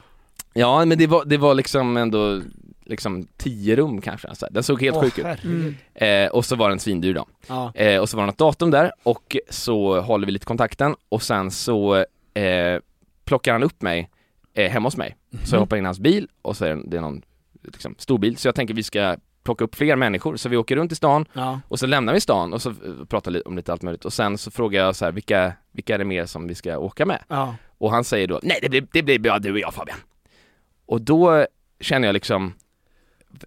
[SPEAKER 3] Ja, men det var, det var liksom ändå liksom tio rum kanske. Så här. Den såg helt
[SPEAKER 2] Åh,
[SPEAKER 3] sjuk ut.
[SPEAKER 2] herregud.
[SPEAKER 3] Eh, och så var den svindyr då.
[SPEAKER 1] Ja.
[SPEAKER 3] Eh, och så var det något datum där och så håller vi lite kontakten och sen så eh, plockar han upp mig eh, hemma hos mig. Så jag
[SPEAKER 5] Mhm.
[SPEAKER 3] hoppar in i hans bil och så är det- det är någon liksom, stor bil. Så jag tänker vi ska plocka upp fler människor. Så vi åker runt i stan
[SPEAKER 5] Ja.
[SPEAKER 3] och så lämnar vi stan och så eh, pratar lite om lite allt möjligt. Och sen så frågar jag så här, vilka, vilka är det mer som vi ska åka med?
[SPEAKER 5] Eh,
[SPEAKER 1] Ja.
[SPEAKER 3] Och han säger då, nej det blir, det blir bara du och jag Fabian. Och då känner jag liksom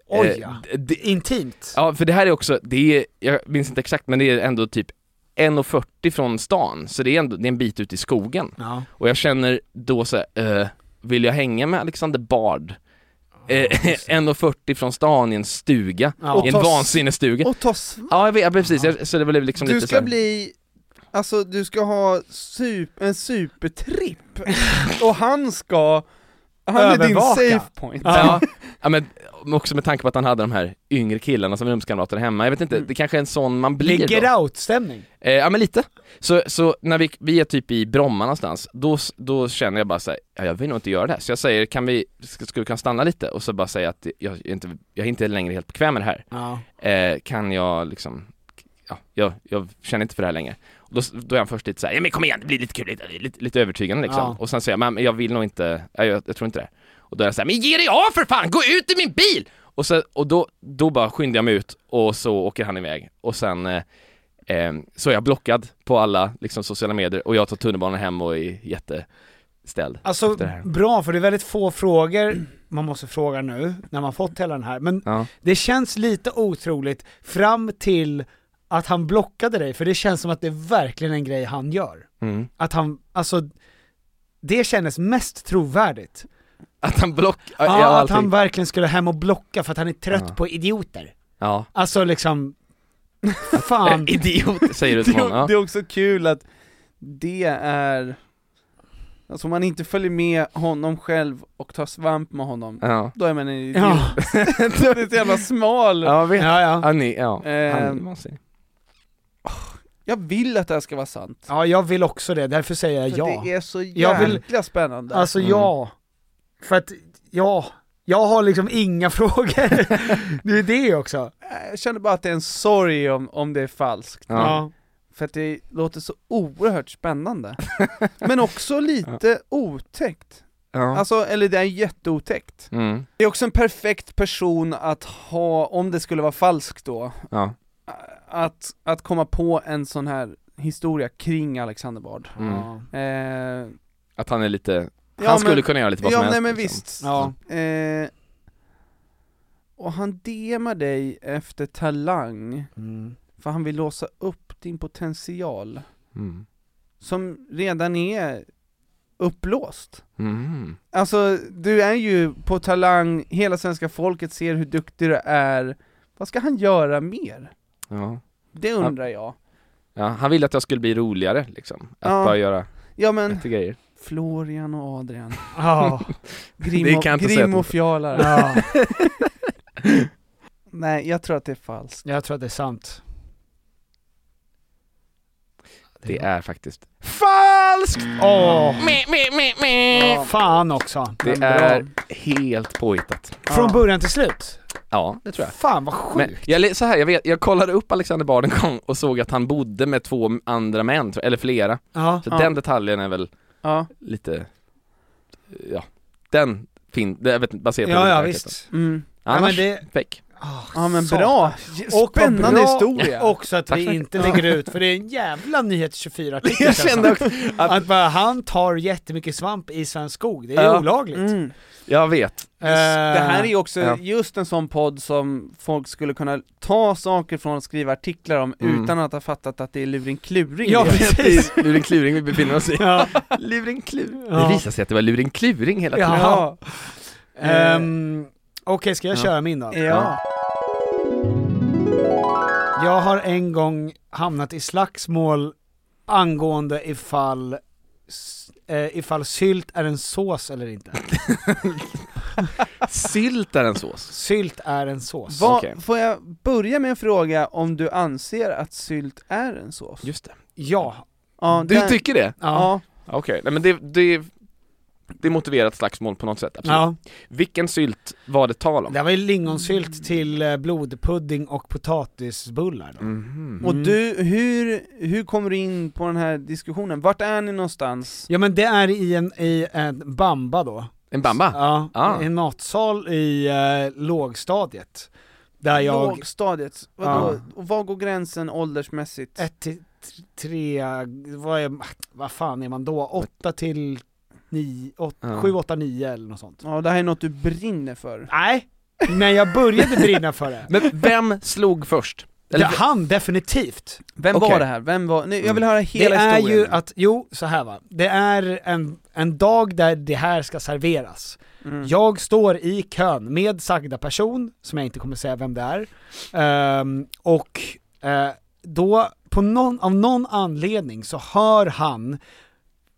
[SPEAKER 1] Oj,
[SPEAKER 3] eh,
[SPEAKER 1] ja.
[SPEAKER 3] d- d-
[SPEAKER 1] Intimt.
[SPEAKER 3] Ja, för det här är också, det är, jag minns inte exakt men det är ändå typ 1,40 från stan, så det är, ändå, det är en bit ut i skogen.
[SPEAKER 1] Ja.
[SPEAKER 3] Och jag känner då så här, eh, vill jag hänga med Alexander Bard? Eh, 1,40 från stan i en stuga,
[SPEAKER 2] Ja.
[SPEAKER 3] i en
[SPEAKER 2] Och ta s-
[SPEAKER 3] vansinnesstuga.
[SPEAKER 2] Och ta svamp.
[SPEAKER 3] Ja, jag vet, ja, precis, jag, så det blev liksom
[SPEAKER 2] Du
[SPEAKER 3] lite
[SPEAKER 2] ska
[SPEAKER 3] så här-
[SPEAKER 2] bli, alltså du ska ha sup, en supertripp, och han ska, han är din
[SPEAKER 3] Övervaka.
[SPEAKER 2] safe point
[SPEAKER 3] Ja. ja, men också med tanke på att han hade de här yngre killarna som rumskamrater hemma, jag vet
[SPEAKER 2] Mm.
[SPEAKER 3] inte, det kanske är en sån man blir
[SPEAKER 1] Blir
[SPEAKER 3] då.
[SPEAKER 1] Get out-stämning.
[SPEAKER 3] Eh, ja men lite. Så, så när vi, vi är typ i Bromma någonstans, då, s- då känner jag bara såhär, ja, jag vill nog inte göra det här. Så jag säger, kan vi, ska, ska vi kunna stanna lite? Och så bara säga att jag är inte, jag är inte längre helt bekväm med det här.
[SPEAKER 1] Ja.
[SPEAKER 3] Eh, kan jag liksom, ja, jag, jag känner inte för det här längre. Och då, s- då är han först lite såhär, ja men kom igen, det blir lite kul, lite, lite, lite övertygande liksom.
[SPEAKER 5] Ja.
[SPEAKER 3] Och sen säger jag, men jag vill nog inte, jag, jag, jag tror inte det. Och då är han såhär, men ge dig av för fan, gå ut ur min bil! Och, så, och då, då bara skyndar jag mig ut och så åker han iväg. Och sen eh, eh, så är jag blockad på alla liksom, sociala medier och jag tar tunnelbanan hem och är jätteställd.
[SPEAKER 1] Alltså
[SPEAKER 3] efter det här.
[SPEAKER 1] bra, för det är väldigt få frågor man måste fråga nu, när man fått hela den här. Men
[SPEAKER 3] Ja.
[SPEAKER 1] det känns lite otroligt fram till att han blockade dig, för det känns som att det är verkligen en grej han gör.
[SPEAKER 3] Mm.
[SPEAKER 1] Att han, alltså, det kändes mest trovärdigt.
[SPEAKER 3] Att han block...
[SPEAKER 1] Ja,
[SPEAKER 3] jag har
[SPEAKER 1] Ah, att
[SPEAKER 3] alltid-
[SPEAKER 1] han verkligen skulle hem och blocka för att han är trött
[SPEAKER 3] Ja.
[SPEAKER 1] på idioter.
[SPEAKER 3] Ja. Eh,
[SPEAKER 1] Alltså liksom, fan.
[SPEAKER 3] Idiot säger du till
[SPEAKER 2] det,
[SPEAKER 3] honom. Ja.
[SPEAKER 2] det är också kul att det är, alltså om man inte följer med honom själv och tar svamp med honom,
[SPEAKER 3] Ja.
[SPEAKER 2] då är man en idiot.
[SPEAKER 3] Ja.
[SPEAKER 2] då är det så jävla smal.
[SPEAKER 3] Ja, vet.
[SPEAKER 1] Ja, ja.
[SPEAKER 3] Han är, ja.
[SPEAKER 2] Ehm,
[SPEAKER 3] han, man ser.
[SPEAKER 2] Jag vill att det här ska vara sant.
[SPEAKER 1] Ja, jag vill också det, därför säger jag
[SPEAKER 2] För
[SPEAKER 1] ja.
[SPEAKER 2] det är så
[SPEAKER 1] Jag vill-
[SPEAKER 2] jäkla spännande.
[SPEAKER 1] Alltså ja, för att ja, jag har liksom inga frågor. det är det också.
[SPEAKER 2] Jag känner bara att det är en sorg om, om det är falskt.
[SPEAKER 1] Ja. Ja.
[SPEAKER 2] För att det låter så oerhört spännande. Men också lite otäckt.
[SPEAKER 3] Ja.
[SPEAKER 2] Alltså, eller det är jätteotäckt.
[SPEAKER 3] Mm.
[SPEAKER 2] Det är också en perfekt person att ha, om det skulle vara falskt då,
[SPEAKER 3] Ja.
[SPEAKER 2] att, att komma på en sån här historia kring Alexander Bard.
[SPEAKER 3] Mm.
[SPEAKER 2] Eh,
[SPEAKER 3] Att han är lite, han
[SPEAKER 2] Ja, men-
[SPEAKER 3] skulle kunna göra lite vad
[SPEAKER 2] ja,
[SPEAKER 3] som helst.
[SPEAKER 2] nej, men
[SPEAKER 3] liksom.
[SPEAKER 2] visst. Eh, och han DMar dig efter talang, för han vill låsa upp din potential,
[SPEAKER 3] Mm.
[SPEAKER 2] som redan är upplåst.
[SPEAKER 10] Mm-hmm.
[SPEAKER 3] Mm.
[SPEAKER 2] Alltså, du är ju på talang, hela svenska folket ser hur duktig du är. Vad ska han göra mer?
[SPEAKER 3] Ja.
[SPEAKER 2] Det undrar jag.
[SPEAKER 3] Ja, han ville att jag skulle bli roligare liksom, att
[SPEAKER 2] Ja.
[SPEAKER 3] bara göra
[SPEAKER 2] Ja, men-
[SPEAKER 3] bättre grejer.
[SPEAKER 2] Florian och Adrian.
[SPEAKER 1] Ja.
[SPEAKER 2] Grim
[SPEAKER 3] Det
[SPEAKER 2] och,
[SPEAKER 3] kan jag inte säga att
[SPEAKER 2] grim
[SPEAKER 3] de-
[SPEAKER 2] och fjalar.
[SPEAKER 1] Ja.
[SPEAKER 2] Nej, jag tror att det är falskt.
[SPEAKER 1] Jag tror att det är sant.
[SPEAKER 3] Det är faktiskt,
[SPEAKER 1] Falskt! Åh,
[SPEAKER 5] Me, me, me, me.
[SPEAKER 1] fan också.
[SPEAKER 3] det är helt påhittat.
[SPEAKER 1] Från början till slut.
[SPEAKER 5] Ja, det tror jag.
[SPEAKER 1] Fan vad sjukt!
[SPEAKER 5] Men jag, le- så här, jag, vet, jag kollade upp Alexander Bard en gång och såg att han bodde med två andra män, tror jag, eller flera.
[SPEAKER 2] Ja,
[SPEAKER 5] så
[SPEAKER 2] ja.
[SPEAKER 5] den detaljen är väl
[SPEAKER 2] Ja.
[SPEAKER 5] lite, ja, den fin, det- jag vet inte, baserat på
[SPEAKER 1] Ja, ja,
[SPEAKER 5] verkligheten.
[SPEAKER 1] visst.
[SPEAKER 2] Mm.
[SPEAKER 5] Annars,
[SPEAKER 1] Ja, men det-
[SPEAKER 5] fake.
[SPEAKER 2] Ja men
[SPEAKER 1] Satan.
[SPEAKER 2] bra!
[SPEAKER 1] Och vad
[SPEAKER 2] Spännande
[SPEAKER 1] bra
[SPEAKER 2] historia!
[SPEAKER 1] också att
[SPEAKER 2] Tack
[SPEAKER 1] vi
[SPEAKER 2] så mycket.
[SPEAKER 1] inte
[SPEAKER 2] Ja.
[SPEAKER 1] lägger ut, för det är en jävla nyhet 24 artikel
[SPEAKER 5] Jag kände också
[SPEAKER 1] att, att bara, han tar jättemycket svamp i svensk skog, det är
[SPEAKER 5] Ja.
[SPEAKER 1] olagligt. Eh,
[SPEAKER 2] Mm.
[SPEAKER 5] Jag vet.
[SPEAKER 3] Eh,
[SPEAKER 2] Det här är ju också
[SPEAKER 5] Ja.
[SPEAKER 2] just en sån podd som folk skulle kunna ta saker från och skriva artiklar om
[SPEAKER 5] Mm.
[SPEAKER 2] utan att ha fattat att det är luring kluring
[SPEAKER 1] Ja,
[SPEAKER 2] det är.
[SPEAKER 1] precis.
[SPEAKER 5] Luring kluring vi befinner oss i.
[SPEAKER 1] Ja.
[SPEAKER 5] Luring kluring.
[SPEAKER 1] Ja.
[SPEAKER 5] Det visar sig att det var luring kluring hela tiden.
[SPEAKER 1] Jaha.
[SPEAKER 2] Eh.
[SPEAKER 1] Ehm, Okej, ska jag
[SPEAKER 5] Ja.
[SPEAKER 1] köra min då?
[SPEAKER 2] Ja.
[SPEAKER 1] Jag har en gång hamnat i slagsmål angående ifall, s- eh, ifall sylt är en sås eller inte.
[SPEAKER 5] Sylt är en sås.
[SPEAKER 1] sylt är en sås.
[SPEAKER 2] Vad-
[SPEAKER 5] Okej.
[SPEAKER 2] Får jag börja med en fråga om du anser att sylt är en sås?
[SPEAKER 5] Just det.
[SPEAKER 1] Ja.
[SPEAKER 2] Ja,
[SPEAKER 5] Du
[SPEAKER 2] där-
[SPEAKER 5] tycker det?
[SPEAKER 2] Ja.
[SPEAKER 5] Okej, nej men det, det, det är motiverat slagsmål på något sätt, absolut.
[SPEAKER 1] Ja.
[SPEAKER 5] Vilken sylt var det tal om?
[SPEAKER 1] Det var ju lingonsylt till eh, blodpudding och potatisbullar då.
[SPEAKER 5] Mhm.
[SPEAKER 1] Mm.
[SPEAKER 2] Och du, hur, hur kommer du in på den här diskussionen? Vart är ni någonstans?
[SPEAKER 1] Ja men det är i en, i en bamba då.
[SPEAKER 5] En bamba?
[SPEAKER 1] Ja,
[SPEAKER 5] Ah.
[SPEAKER 1] en matsal i eh, lågstadiet. Där jag...
[SPEAKER 2] Lågstadiet? Vadå? Och var går gränsen åldersmässigt?
[SPEAKER 1] ett till t- tre, vad, är, vad fan är man då? Åtta till nio, åt,
[SPEAKER 5] Ja.
[SPEAKER 1] sju, åtta, nio eller något sånt.
[SPEAKER 2] Ja, det här är något du brinner för.
[SPEAKER 1] Nej, men jag började brinna för det.
[SPEAKER 5] Men vem slog först?
[SPEAKER 1] Ja, han definitivt.
[SPEAKER 2] Vem
[SPEAKER 5] Okej.
[SPEAKER 2] var det här? Vem var, nu, jag vill höra
[SPEAKER 1] Mm. Det
[SPEAKER 2] hela
[SPEAKER 1] är
[SPEAKER 2] historien.
[SPEAKER 1] ju att, jo så här va, det är en, en dag där det här ska serveras.
[SPEAKER 2] Mm.
[SPEAKER 1] Jag står i kön med sagda person, som jag inte kommer säga vem det är, Ehm, och eh, då, på någon, av någon anledning så hör han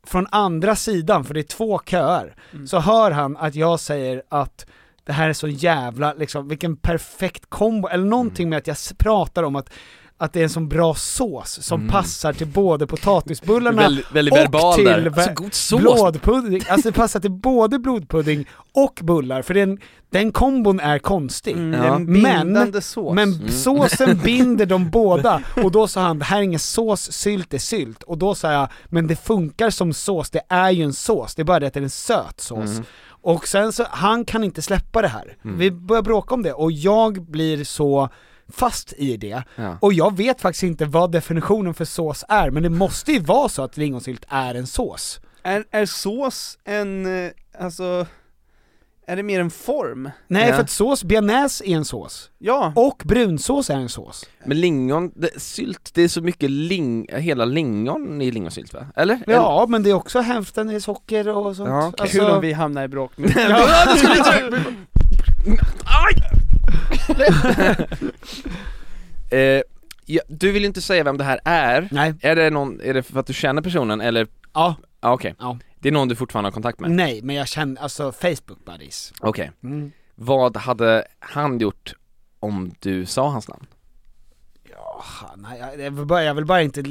[SPEAKER 1] från andra sidan, för det är två köer,
[SPEAKER 5] Mm.
[SPEAKER 1] så hör han att jag säger att det här är så jävla, liksom, vilken perfekt kombo, eller
[SPEAKER 5] Mm.
[SPEAKER 1] någonting med att jag s- pratar om att att det är en sån bra sås som passar till både potatisbullarna
[SPEAKER 5] Väldigt- Mm. väldigt verbal
[SPEAKER 1] och till
[SPEAKER 5] där.
[SPEAKER 1] ve-
[SPEAKER 5] Så god sås.
[SPEAKER 1] blodpudding. Alltså det passar till både blodpudding och bullar, för den, den kombon är konstig.
[SPEAKER 2] Mm,
[SPEAKER 5] Ja.
[SPEAKER 2] En
[SPEAKER 1] Men-
[SPEAKER 2] bindande sås.
[SPEAKER 1] Men såsen binder dem båda, och då sa han det här är ingen sås, sylt är sylt. Och då sa jag, men det funkar som sås, det är ju en sås, det är bara det att det är en söt sås. Och sen så, han kan inte släppa det här. Vi börjar bråka om det, och jag blir så fast i det.
[SPEAKER 5] Ja.
[SPEAKER 1] Och jag vet faktiskt inte vad definitionen för sås är, men det måste ju vara så att lingonsylt är en sås.
[SPEAKER 2] Är, är sås en, eh, alltså, är det mer en form?
[SPEAKER 1] Nej,
[SPEAKER 5] Ja.
[SPEAKER 1] för att sås, bearnaise är en sås.
[SPEAKER 2] Ja,
[SPEAKER 1] Och brunsås är en sås.
[SPEAKER 5] Men lingon, det, sylt, det är så mycket ling, hela lingon i lingonsylt va? Eller?
[SPEAKER 1] Ja, men det är också hälften i socker och sånt.
[SPEAKER 5] Ja, okej.
[SPEAKER 1] Alltså-
[SPEAKER 2] kul om vi hamnar i bråk nu.
[SPEAKER 1] Ja.
[SPEAKER 5] Eller, eh, ja, du vill inte säga vem det här är?
[SPEAKER 1] Nej.
[SPEAKER 5] Är det någon, är det för att du känner personen eller?
[SPEAKER 1] Ja,
[SPEAKER 5] Ja okej,
[SPEAKER 1] ja.
[SPEAKER 5] det är någon du fortfarande har kontakt med?
[SPEAKER 1] Nej, men jag känner, alltså Facebook buddies.
[SPEAKER 5] Okej,
[SPEAKER 1] Mm.
[SPEAKER 5] vad hade han gjort om du sa hans namn?
[SPEAKER 1] Åh, nej, jag, jag, vill bara, jag vill bara inte...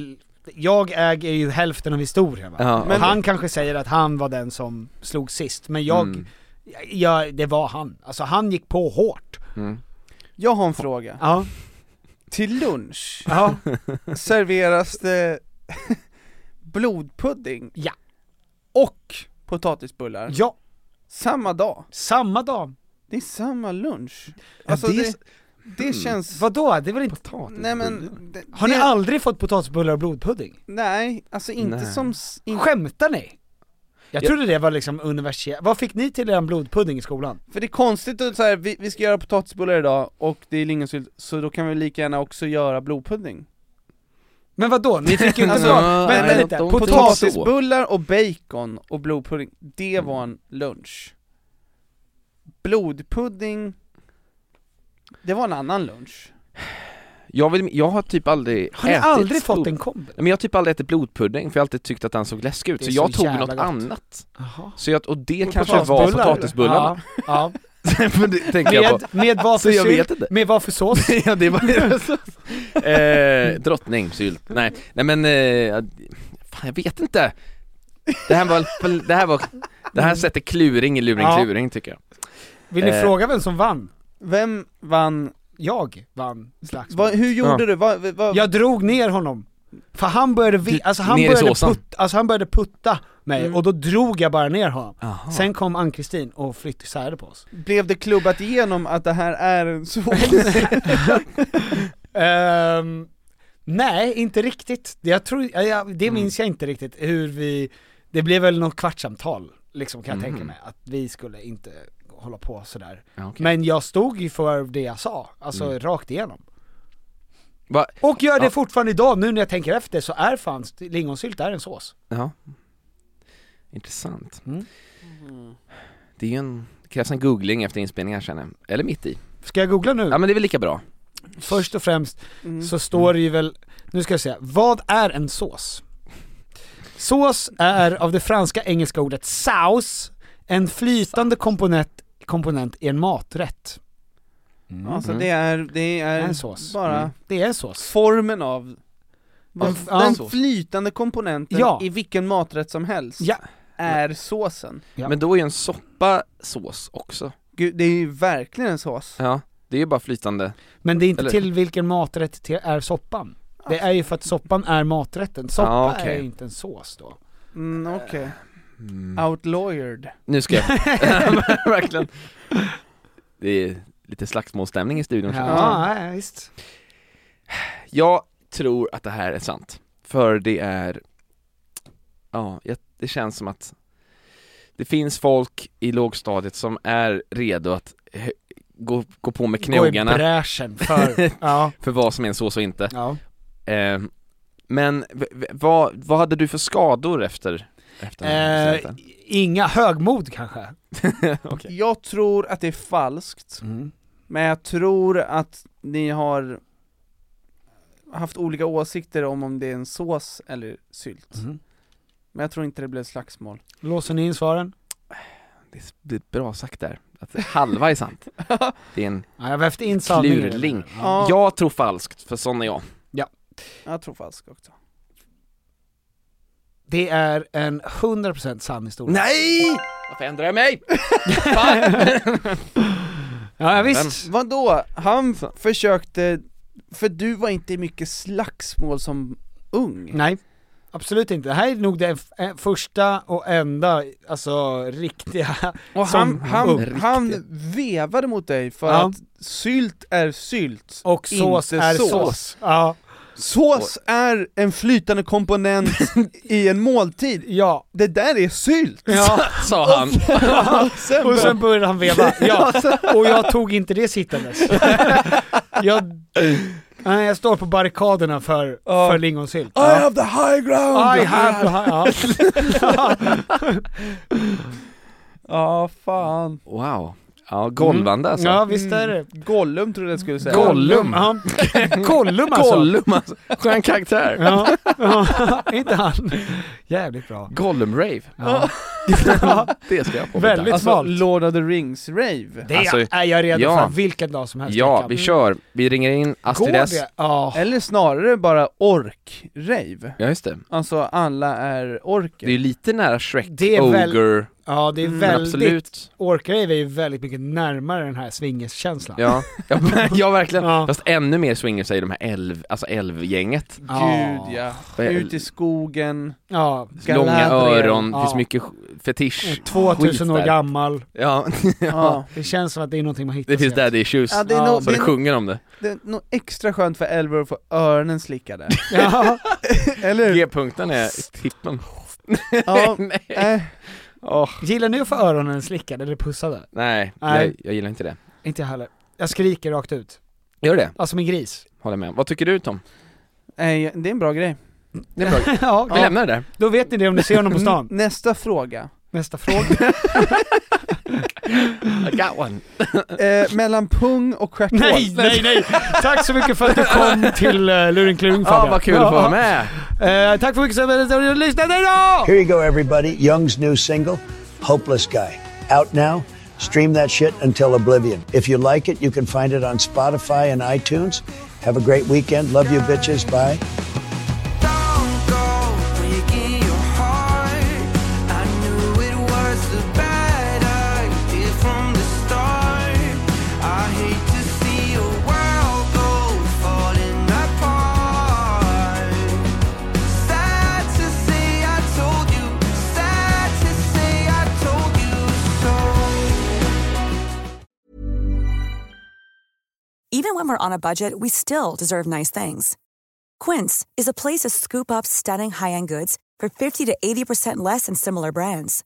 [SPEAKER 1] Jag äger ju hälften av historien va?
[SPEAKER 5] Ja,
[SPEAKER 1] men
[SPEAKER 5] okej.
[SPEAKER 1] han kanske säger att han var den som slog sist, men jag...
[SPEAKER 5] Mm.
[SPEAKER 1] Ja, det var han. Alltså han gick på hårt.
[SPEAKER 2] Jag har en fråga.
[SPEAKER 1] Ja.
[SPEAKER 2] Till lunch
[SPEAKER 1] Ja.
[SPEAKER 2] serveras det blodpudding
[SPEAKER 1] Ja.
[SPEAKER 2] och potatisbullar
[SPEAKER 1] ja.
[SPEAKER 2] samma dag.
[SPEAKER 1] Samma dag.
[SPEAKER 2] Det är samma lunch. Alltså
[SPEAKER 5] det är
[SPEAKER 2] det,
[SPEAKER 5] s- hmm.
[SPEAKER 2] det, känns...
[SPEAKER 1] Vadå? Det är väl inte...
[SPEAKER 5] Potatis?
[SPEAKER 2] Nej men... Det,
[SPEAKER 1] Har ni
[SPEAKER 2] det-
[SPEAKER 1] aldrig fått potatisbullar och blodpudding?
[SPEAKER 2] Nej, alltså inte
[SPEAKER 5] Nej.
[SPEAKER 2] som... s- In,
[SPEAKER 1] Skämtar ni? Jag
[SPEAKER 5] Ja.
[SPEAKER 1] trodde det var liksom universitet. Vad fick ni till er blodpudding i skolan?
[SPEAKER 2] för det är konstigt att så här, vi, vi ska göra potatisbullar idag och det är lingonsylt, så då kan vi lika gärna också göra blodpudding.
[SPEAKER 1] Men vadå? Ni fick ju inte
[SPEAKER 2] Alltså,
[SPEAKER 1] bra...
[SPEAKER 2] nej,
[SPEAKER 1] Vänta
[SPEAKER 2] men
[SPEAKER 1] lite,
[SPEAKER 5] de-
[SPEAKER 1] potatis... Mm.
[SPEAKER 5] så.
[SPEAKER 2] Potatisbullar och bacon och blodpudding, det var en lunch. Blodpudding, det var en annan lunch.
[SPEAKER 5] Jag, vill, jag har typ aldrig
[SPEAKER 1] Har ni
[SPEAKER 5] ätit
[SPEAKER 1] aldrig fått
[SPEAKER 5] blod-
[SPEAKER 1] en kombo?
[SPEAKER 5] Nej, Men jag har typ aldrig ätit blodpudding för jag har alltid tyckt att den såg läskig ut,
[SPEAKER 1] Det
[SPEAKER 5] så
[SPEAKER 1] är
[SPEAKER 5] jag
[SPEAKER 1] så
[SPEAKER 5] tog
[SPEAKER 1] jävla
[SPEAKER 5] något
[SPEAKER 1] gott.
[SPEAKER 5] annat.
[SPEAKER 1] Jaha.
[SPEAKER 5] Så jag, och det kanske var potatisbullarna.
[SPEAKER 1] Ja,
[SPEAKER 5] Men det tänker jag på.
[SPEAKER 1] Med, med vad
[SPEAKER 5] Så
[SPEAKER 1] för
[SPEAKER 5] jag vet
[SPEAKER 1] sylt?
[SPEAKER 5] inte.
[SPEAKER 1] Med vad för sås?
[SPEAKER 5] ja, det var eh, Drottning, sylt. Nej, nej men, eh, fan, jag vet inte. Det här var, det här var, det här sätter kluring i luring
[SPEAKER 1] Ja.
[SPEAKER 5] kluring tycker jag.
[SPEAKER 1] Vill ni
[SPEAKER 5] Eh.
[SPEAKER 1] fråga vem som vann?
[SPEAKER 2] Vem vann?
[SPEAKER 1] Jag vann slagsmålet.
[SPEAKER 2] Vad- hur gjorde
[SPEAKER 1] Ja.
[SPEAKER 2] du? Vad- vad-
[SPEAKER 1] Jag drog ner honom. För han började, vi, alltså han
[SPEAKER 5] ner i
[SPEAKER 1] började,
[SPEAKER 5] såsan.
[SPEAKER 1] put, alltså han började putta mig
[SPEAKER 2] Mm.
[SPEAKER 1] och då drog jag bara ner honom. Sen kom Ann-Kristin och flyttade särade på oss.
[SPEAKER 2] Blev det klubbat igenom att det här är en sås?
[SPEAKER 1] Ehm, nej, inte riktigt. Jag tror, ja, ja, det
[SPEAKER 5] Mm.
[SPEAKER 1] minns jag inte riktigt hur vi, det blev väl något kvartssamtal liksom kan jag
[SPEAKER 5] Mhm.
[SPEAKER 1] tänka mig, att vi skulle inte hålla på sådär.
[SPEAKER 5] Ja, okej.
[SPEAKER 1] Men jag stod ju för det jag sa, alltså rakt igenom.
[SPEAKER 5] Va?
[SPEAKER 1] Och gör det
[SPEAKER 5] Ja.
[SPEAKER 1] fortfarande idag, nu när jag tänker efter så är fan st- lingonsylt är en sås.
[SPEAKER 5] Ja. Intressant.
[SPEAKER 1] Mm.
[SPEAKER 5] Det är ju en, det krävs en googling efter inspelningen känner jag. Eller mitt i.
[SPEAKER 1] Ska jag googla nu?
[SPEAKER 5] Ja men det är väl lika bra.
[SPEAKER 1] Först och främst så står det ju väl, nu ska jag säga, vad är en sås? Sås är av det franska engelska ordet sauce, en flytande komponent, komponent i en maträtt.
[SPEAKER 2] Alltså det är,
[SPEAKER 1] Mm.
[SPEAKER 2] det är
[SPEAKER 1] En sås.
[SPEAKER 2] bara
[SPEAKER 1] Mm. Det är en sås.
[SPEAKER 2] formen av
[SPEAKER 1] Ja,
[SPEAKER 2] den,
[SPEAKER 1] f- ja.
[SPEAKER 2] den flytande komponenten
[SPEAKER 1] Ja.
[SPEAKER 2] i vilken maträtt som helst
[SPEAKER 1] Ja.
[SPEAKER 2] är såsen.
[SPEAKER 1] Ja.
[SPEAKER 5] Men då är ju en soppa sås också.
[SPEAKER 2] Gud, det är ju verkligen en sås.
[SPEAKER 5] Ja, det är ju bara flytande.
[SPEAKER 1] Men det är inte
[SPEAKER 5] Eller-
[SPEAKER 1] till vilken maträtt till är soppan. Det är ju för att soppan är maträtten, soppa
[SPEAKER 5] Ja, Ah, okej.
[SPEAKER 1] är ju inte en sås då.
[SPEAKER 2] Mm, okej.
[SPEAKER 1] Mm.
[SPEAKER 2] Outlawyered.
[SPEAKER 5] Nu ska jag, verkligen. Det är lite slagsmålsstämning i studion känner jag.
[SPEAKER 1] Ja, ja visst.
[SPEAKER 5] Jag tror att det här är sant, för det är, ja, jag- det känns som att det finns folk i lågstadiet som är redo att eh, gå, gå på med
[SPEAKER 1] Gå i
[SPEAKER 5] knogarna
[SPEAKER 1] bräschen för, ja.
[SPEAKER 5] för vad som är en sås och inte.
[SPEAKER 1] ja.
[SPEAKER 5] Eh, men v, v, vad, vad hade du för skador efter, efter den här
[SPEAKER 1] Eh,
[SPEAKER 5] incidenten?
[SPEAKER 1] inga, högmod kanske?
[SPEAKER 5] Okej.
[SPEAKER 2] Jag tror att det är falskt,
[SPEAKER 1] Mm.
[SPEAKER 2] men jag tror att ni har haft olika åsikter om om det är en sås eller sylt.
[SPEAKER 1] Mm.
[SPEAKER 2] Men jag tror inte det blev slagsmål.
[SPEAKER 1] Låser ni in svaren?
[SPEAKER 5] Det är s- det är bra sagt där, att halva är sant. Det är en
[SPEAKER 1] Ja, jag vävde in sanningen.
[SPEAKER 5] klurling.
[SPEAKER 2] Ja.
[SPEAKER 5] Jag tror falskt, för sån är jag.
[SPEAKER 2] Jag tror falskt också.
[SPEAKER 1] Mm. Det är en 100% sann historia.
[SPEAKER 5] Nej! Varför ändrar jag mig?
[SPEAKER 1] Ja, ja visst.
[SPEAKER 2] Vadå? Han f- försökte, för du var inte i mycket slagsmål som ung.
[SPEAKER 1] Nej, absolut inte. Det här är nog det f- eh, första och enda, alltså riktiga,
[SPEAKER 2] Och
[SPEAKER 1] som
[SPEAKER 2] han, han,
[SPEAKER 1] ung.
[SPEAKER 2] han vevade mot dig för
[SPEAKER 1] Ja.
[SPEAKER 2] att sylt är sylt,
[SPEAKER 1] och sås
[SPEAKER 2] inte
[SPEAKER 1] är
[SPEAKER 2] sås.
[SPEAKER 1] sås. Ja,
[SPEAKER 2] Sås är en flytande komponent i en måltid.
[SPEAKER 1] ja.
[SPEAKER 2] Det där är sylt!
[SPEAKER 1] ja.
[SPEAKER 5] Sa han.
[SPEAKER 2] Sen
[SPEAKER 1] Och
[SPEAKER 2] bara-
[SPEAKER 1] sen började han veva, ja. Och jag tog inte det sittandes. Jag, nej, jag står på barrikaderna för,
[SPEAKER 2] Ja.
[SPEAKER 1] för lingonsylt.
[SPEAKER 2] I have the high ground!
[SPEAKER 1] I have, ja.
[SPEAKER 2] Ja, fan.
[SPEAKER 5] Wow. Ja, golvande alltså.
[SPEAKER 1] Mm. ja visst är det.
[SPEAKER 2] Gollum trodde jag skulle säga.
[SPEAKER 5] Gollum.
[SPEAKER 1] Ja. Gollum alltså.
[SPEAKER 5] Gollum alltså. Skön karaktär.
[SPEAKER 1] Ja, ja. inte han. Jävligt bra.
[SPEAKER 5] Gollum-rave.
[SPEAKER 1] Ja.
[SPEAKER 5] Det ska jag på.
[SPEAKER 1] Väldigt
[SPEAKER 5] Alltså,
[SPEAKER 2] Alltså,
[SPEAKER 1] smalt.
[SPEAKER 2] Lord of the Rings-rave.
[SPEAKER 1] Det
[SPEAKER 5] Alltså,
[SPEAKER 1] är jag redo
[SPEAKER 5] ja.
[SPEAKER 1] för vilken dag som helst. jag
[SPEAKER 5] Ja,
[SPEAKER 1] kan.
[SPEAKER 5] vi kör. Vi ringer in
[SPEAKER 1] Går
[SPEAKER 5] Astrid S.
[SPEAKER 1] det? Ja.
[SPEAKER 2] Eller snarare bara ork-rave.
[SPEAKER 5] Ja, just det.
[SPEAKER 2] Alltså alla är orker.
[SPEAKER 5] Det är ju lite nära Shrek,
[SPEAKER 1] Det är väl-
[SPEAKER 5] Ogre,
[SPEAKER 1] Ja, det är
[SPEAKER 5] men
[SPEAKER 1] väldigt,
[SPEAKER 5] absolut.
[SPEAKER 1] Orkrave är ju väldigt mycket närmare den här swingerskänslan.
[SPEAKER 5] Ja, ja, men- ja verkligen.
[SPEAKER 1] Ja.
[SPEAKER 5] Fast ännu mer swingers är ju de här älv, alltså älvgänget.
[SPEAKER 1] Ja.
[SPEAKER 2] Gud ja.
[SPEAKER 5] Väl-
[SPEAKER 2] Ut i skogen.
[SPEAKER 1] Ja,
[SPEAKER 5] Långa
[SPEAKER 2] Galadriel.
[SPEAKER 5] öron,
[SPEAKER 1] Ja.
[SPEAKER 5] finns mycket sk- fetisch.
[SPEAKER 1] 2000
[SPEAKER 5] skit
[SPEAKER 1] år
[SPEAKER 5] där.
[SPEAKER 1] gammal.
[SPEAKER 5] Ja,
[SPEAKER 2] Ja.
[SPEAKER 1] Det känns som att det är någonting man hittar
[SPEAKER 5] det finns
[SPEAKER 1] sent.
[SPEAKER 5] daddy issues.
[SPEAKER 2] Ja, det är
[SPEAKER 1] Ja,
[SPEAKER 2] nog
[SPEAKER 5] Så det
[SPEAKER 2] det är nog-
[SPEAKER 5] sjunger om det.
[SPEAKER 2] det är nog extra skönt för Elver att få öronen slickade.
[SPEAKER 1] Ja.
[SPEAKER 2] Eller
[SPEAKER 1] Mm.
[SPEAKER 2] hur?
[SPEAKER 5] G-punkten är tippen.
[SPEAKER 2] Ja.
[SPEAKER 5] Nej.
[SPEAKER 2] Äh,
[SPEAKER 5] Åh,
[SPEAKER 1] Gillar ni att få öronen slickade eller pussade?
[SPEAKER 5] nej,
[SPEAKER 1] Nej.
[SPEAKER 5] Jag, jag gillar inte det.
[SPEAKER 1] Inte jag heller. Jag skriker rakt ut.
[SPEAKER 5] Gör det?
[SPEAKER 1] Alltså min gris.
[SPEAKER 5] Håller med. Vad tycker du Tom?
[SPEAKER 2] nej, Eh, det är en bra grej.
[SPEAKER 5] Det är bra.
[SPEAKER 1] ja,
[SPEAKER 5] Vi lämnar det där.
[SPEAKER 1] Då vet ni det om ni ser honom på
[SPEAKER 2] N-
[SPEAKER 1] stan.
[SPEAKER 2] Nästa fråga.
[SPEAKER 1] Nästa fråga.
[SPEAKER 5] I got one.
[SPEAKER 2] Eh, mellan pung och stjärthål.
[SPEAKER 1] nej, nej, nej! Tack så mycket för att du kom till uh, Luring Kluring
[SPEAKER 5] Ja,
[SPEAKER 1] Fabian.
[SPEAKER 5] vad kul att få vara med.
[SPEAKER 1] Eh, tack för mycket så mycket för att du lyssnade idag!
[SPEAKER 11] Here you go, everybody. Young's new single, Hopeless Guy. Out now. Stream that shit until oblivion. If you like it, you can find it on Spotify and iTunes. Have a great weekend. Love you, bitches. Bye.
[SPEAKER 12] From the start, I hate
[SPEAKER 3] even when we're on a budget, we still deserve nice things. Quince is a place to scoop up stunning high-end goods for 50 to 80% less than similar brands.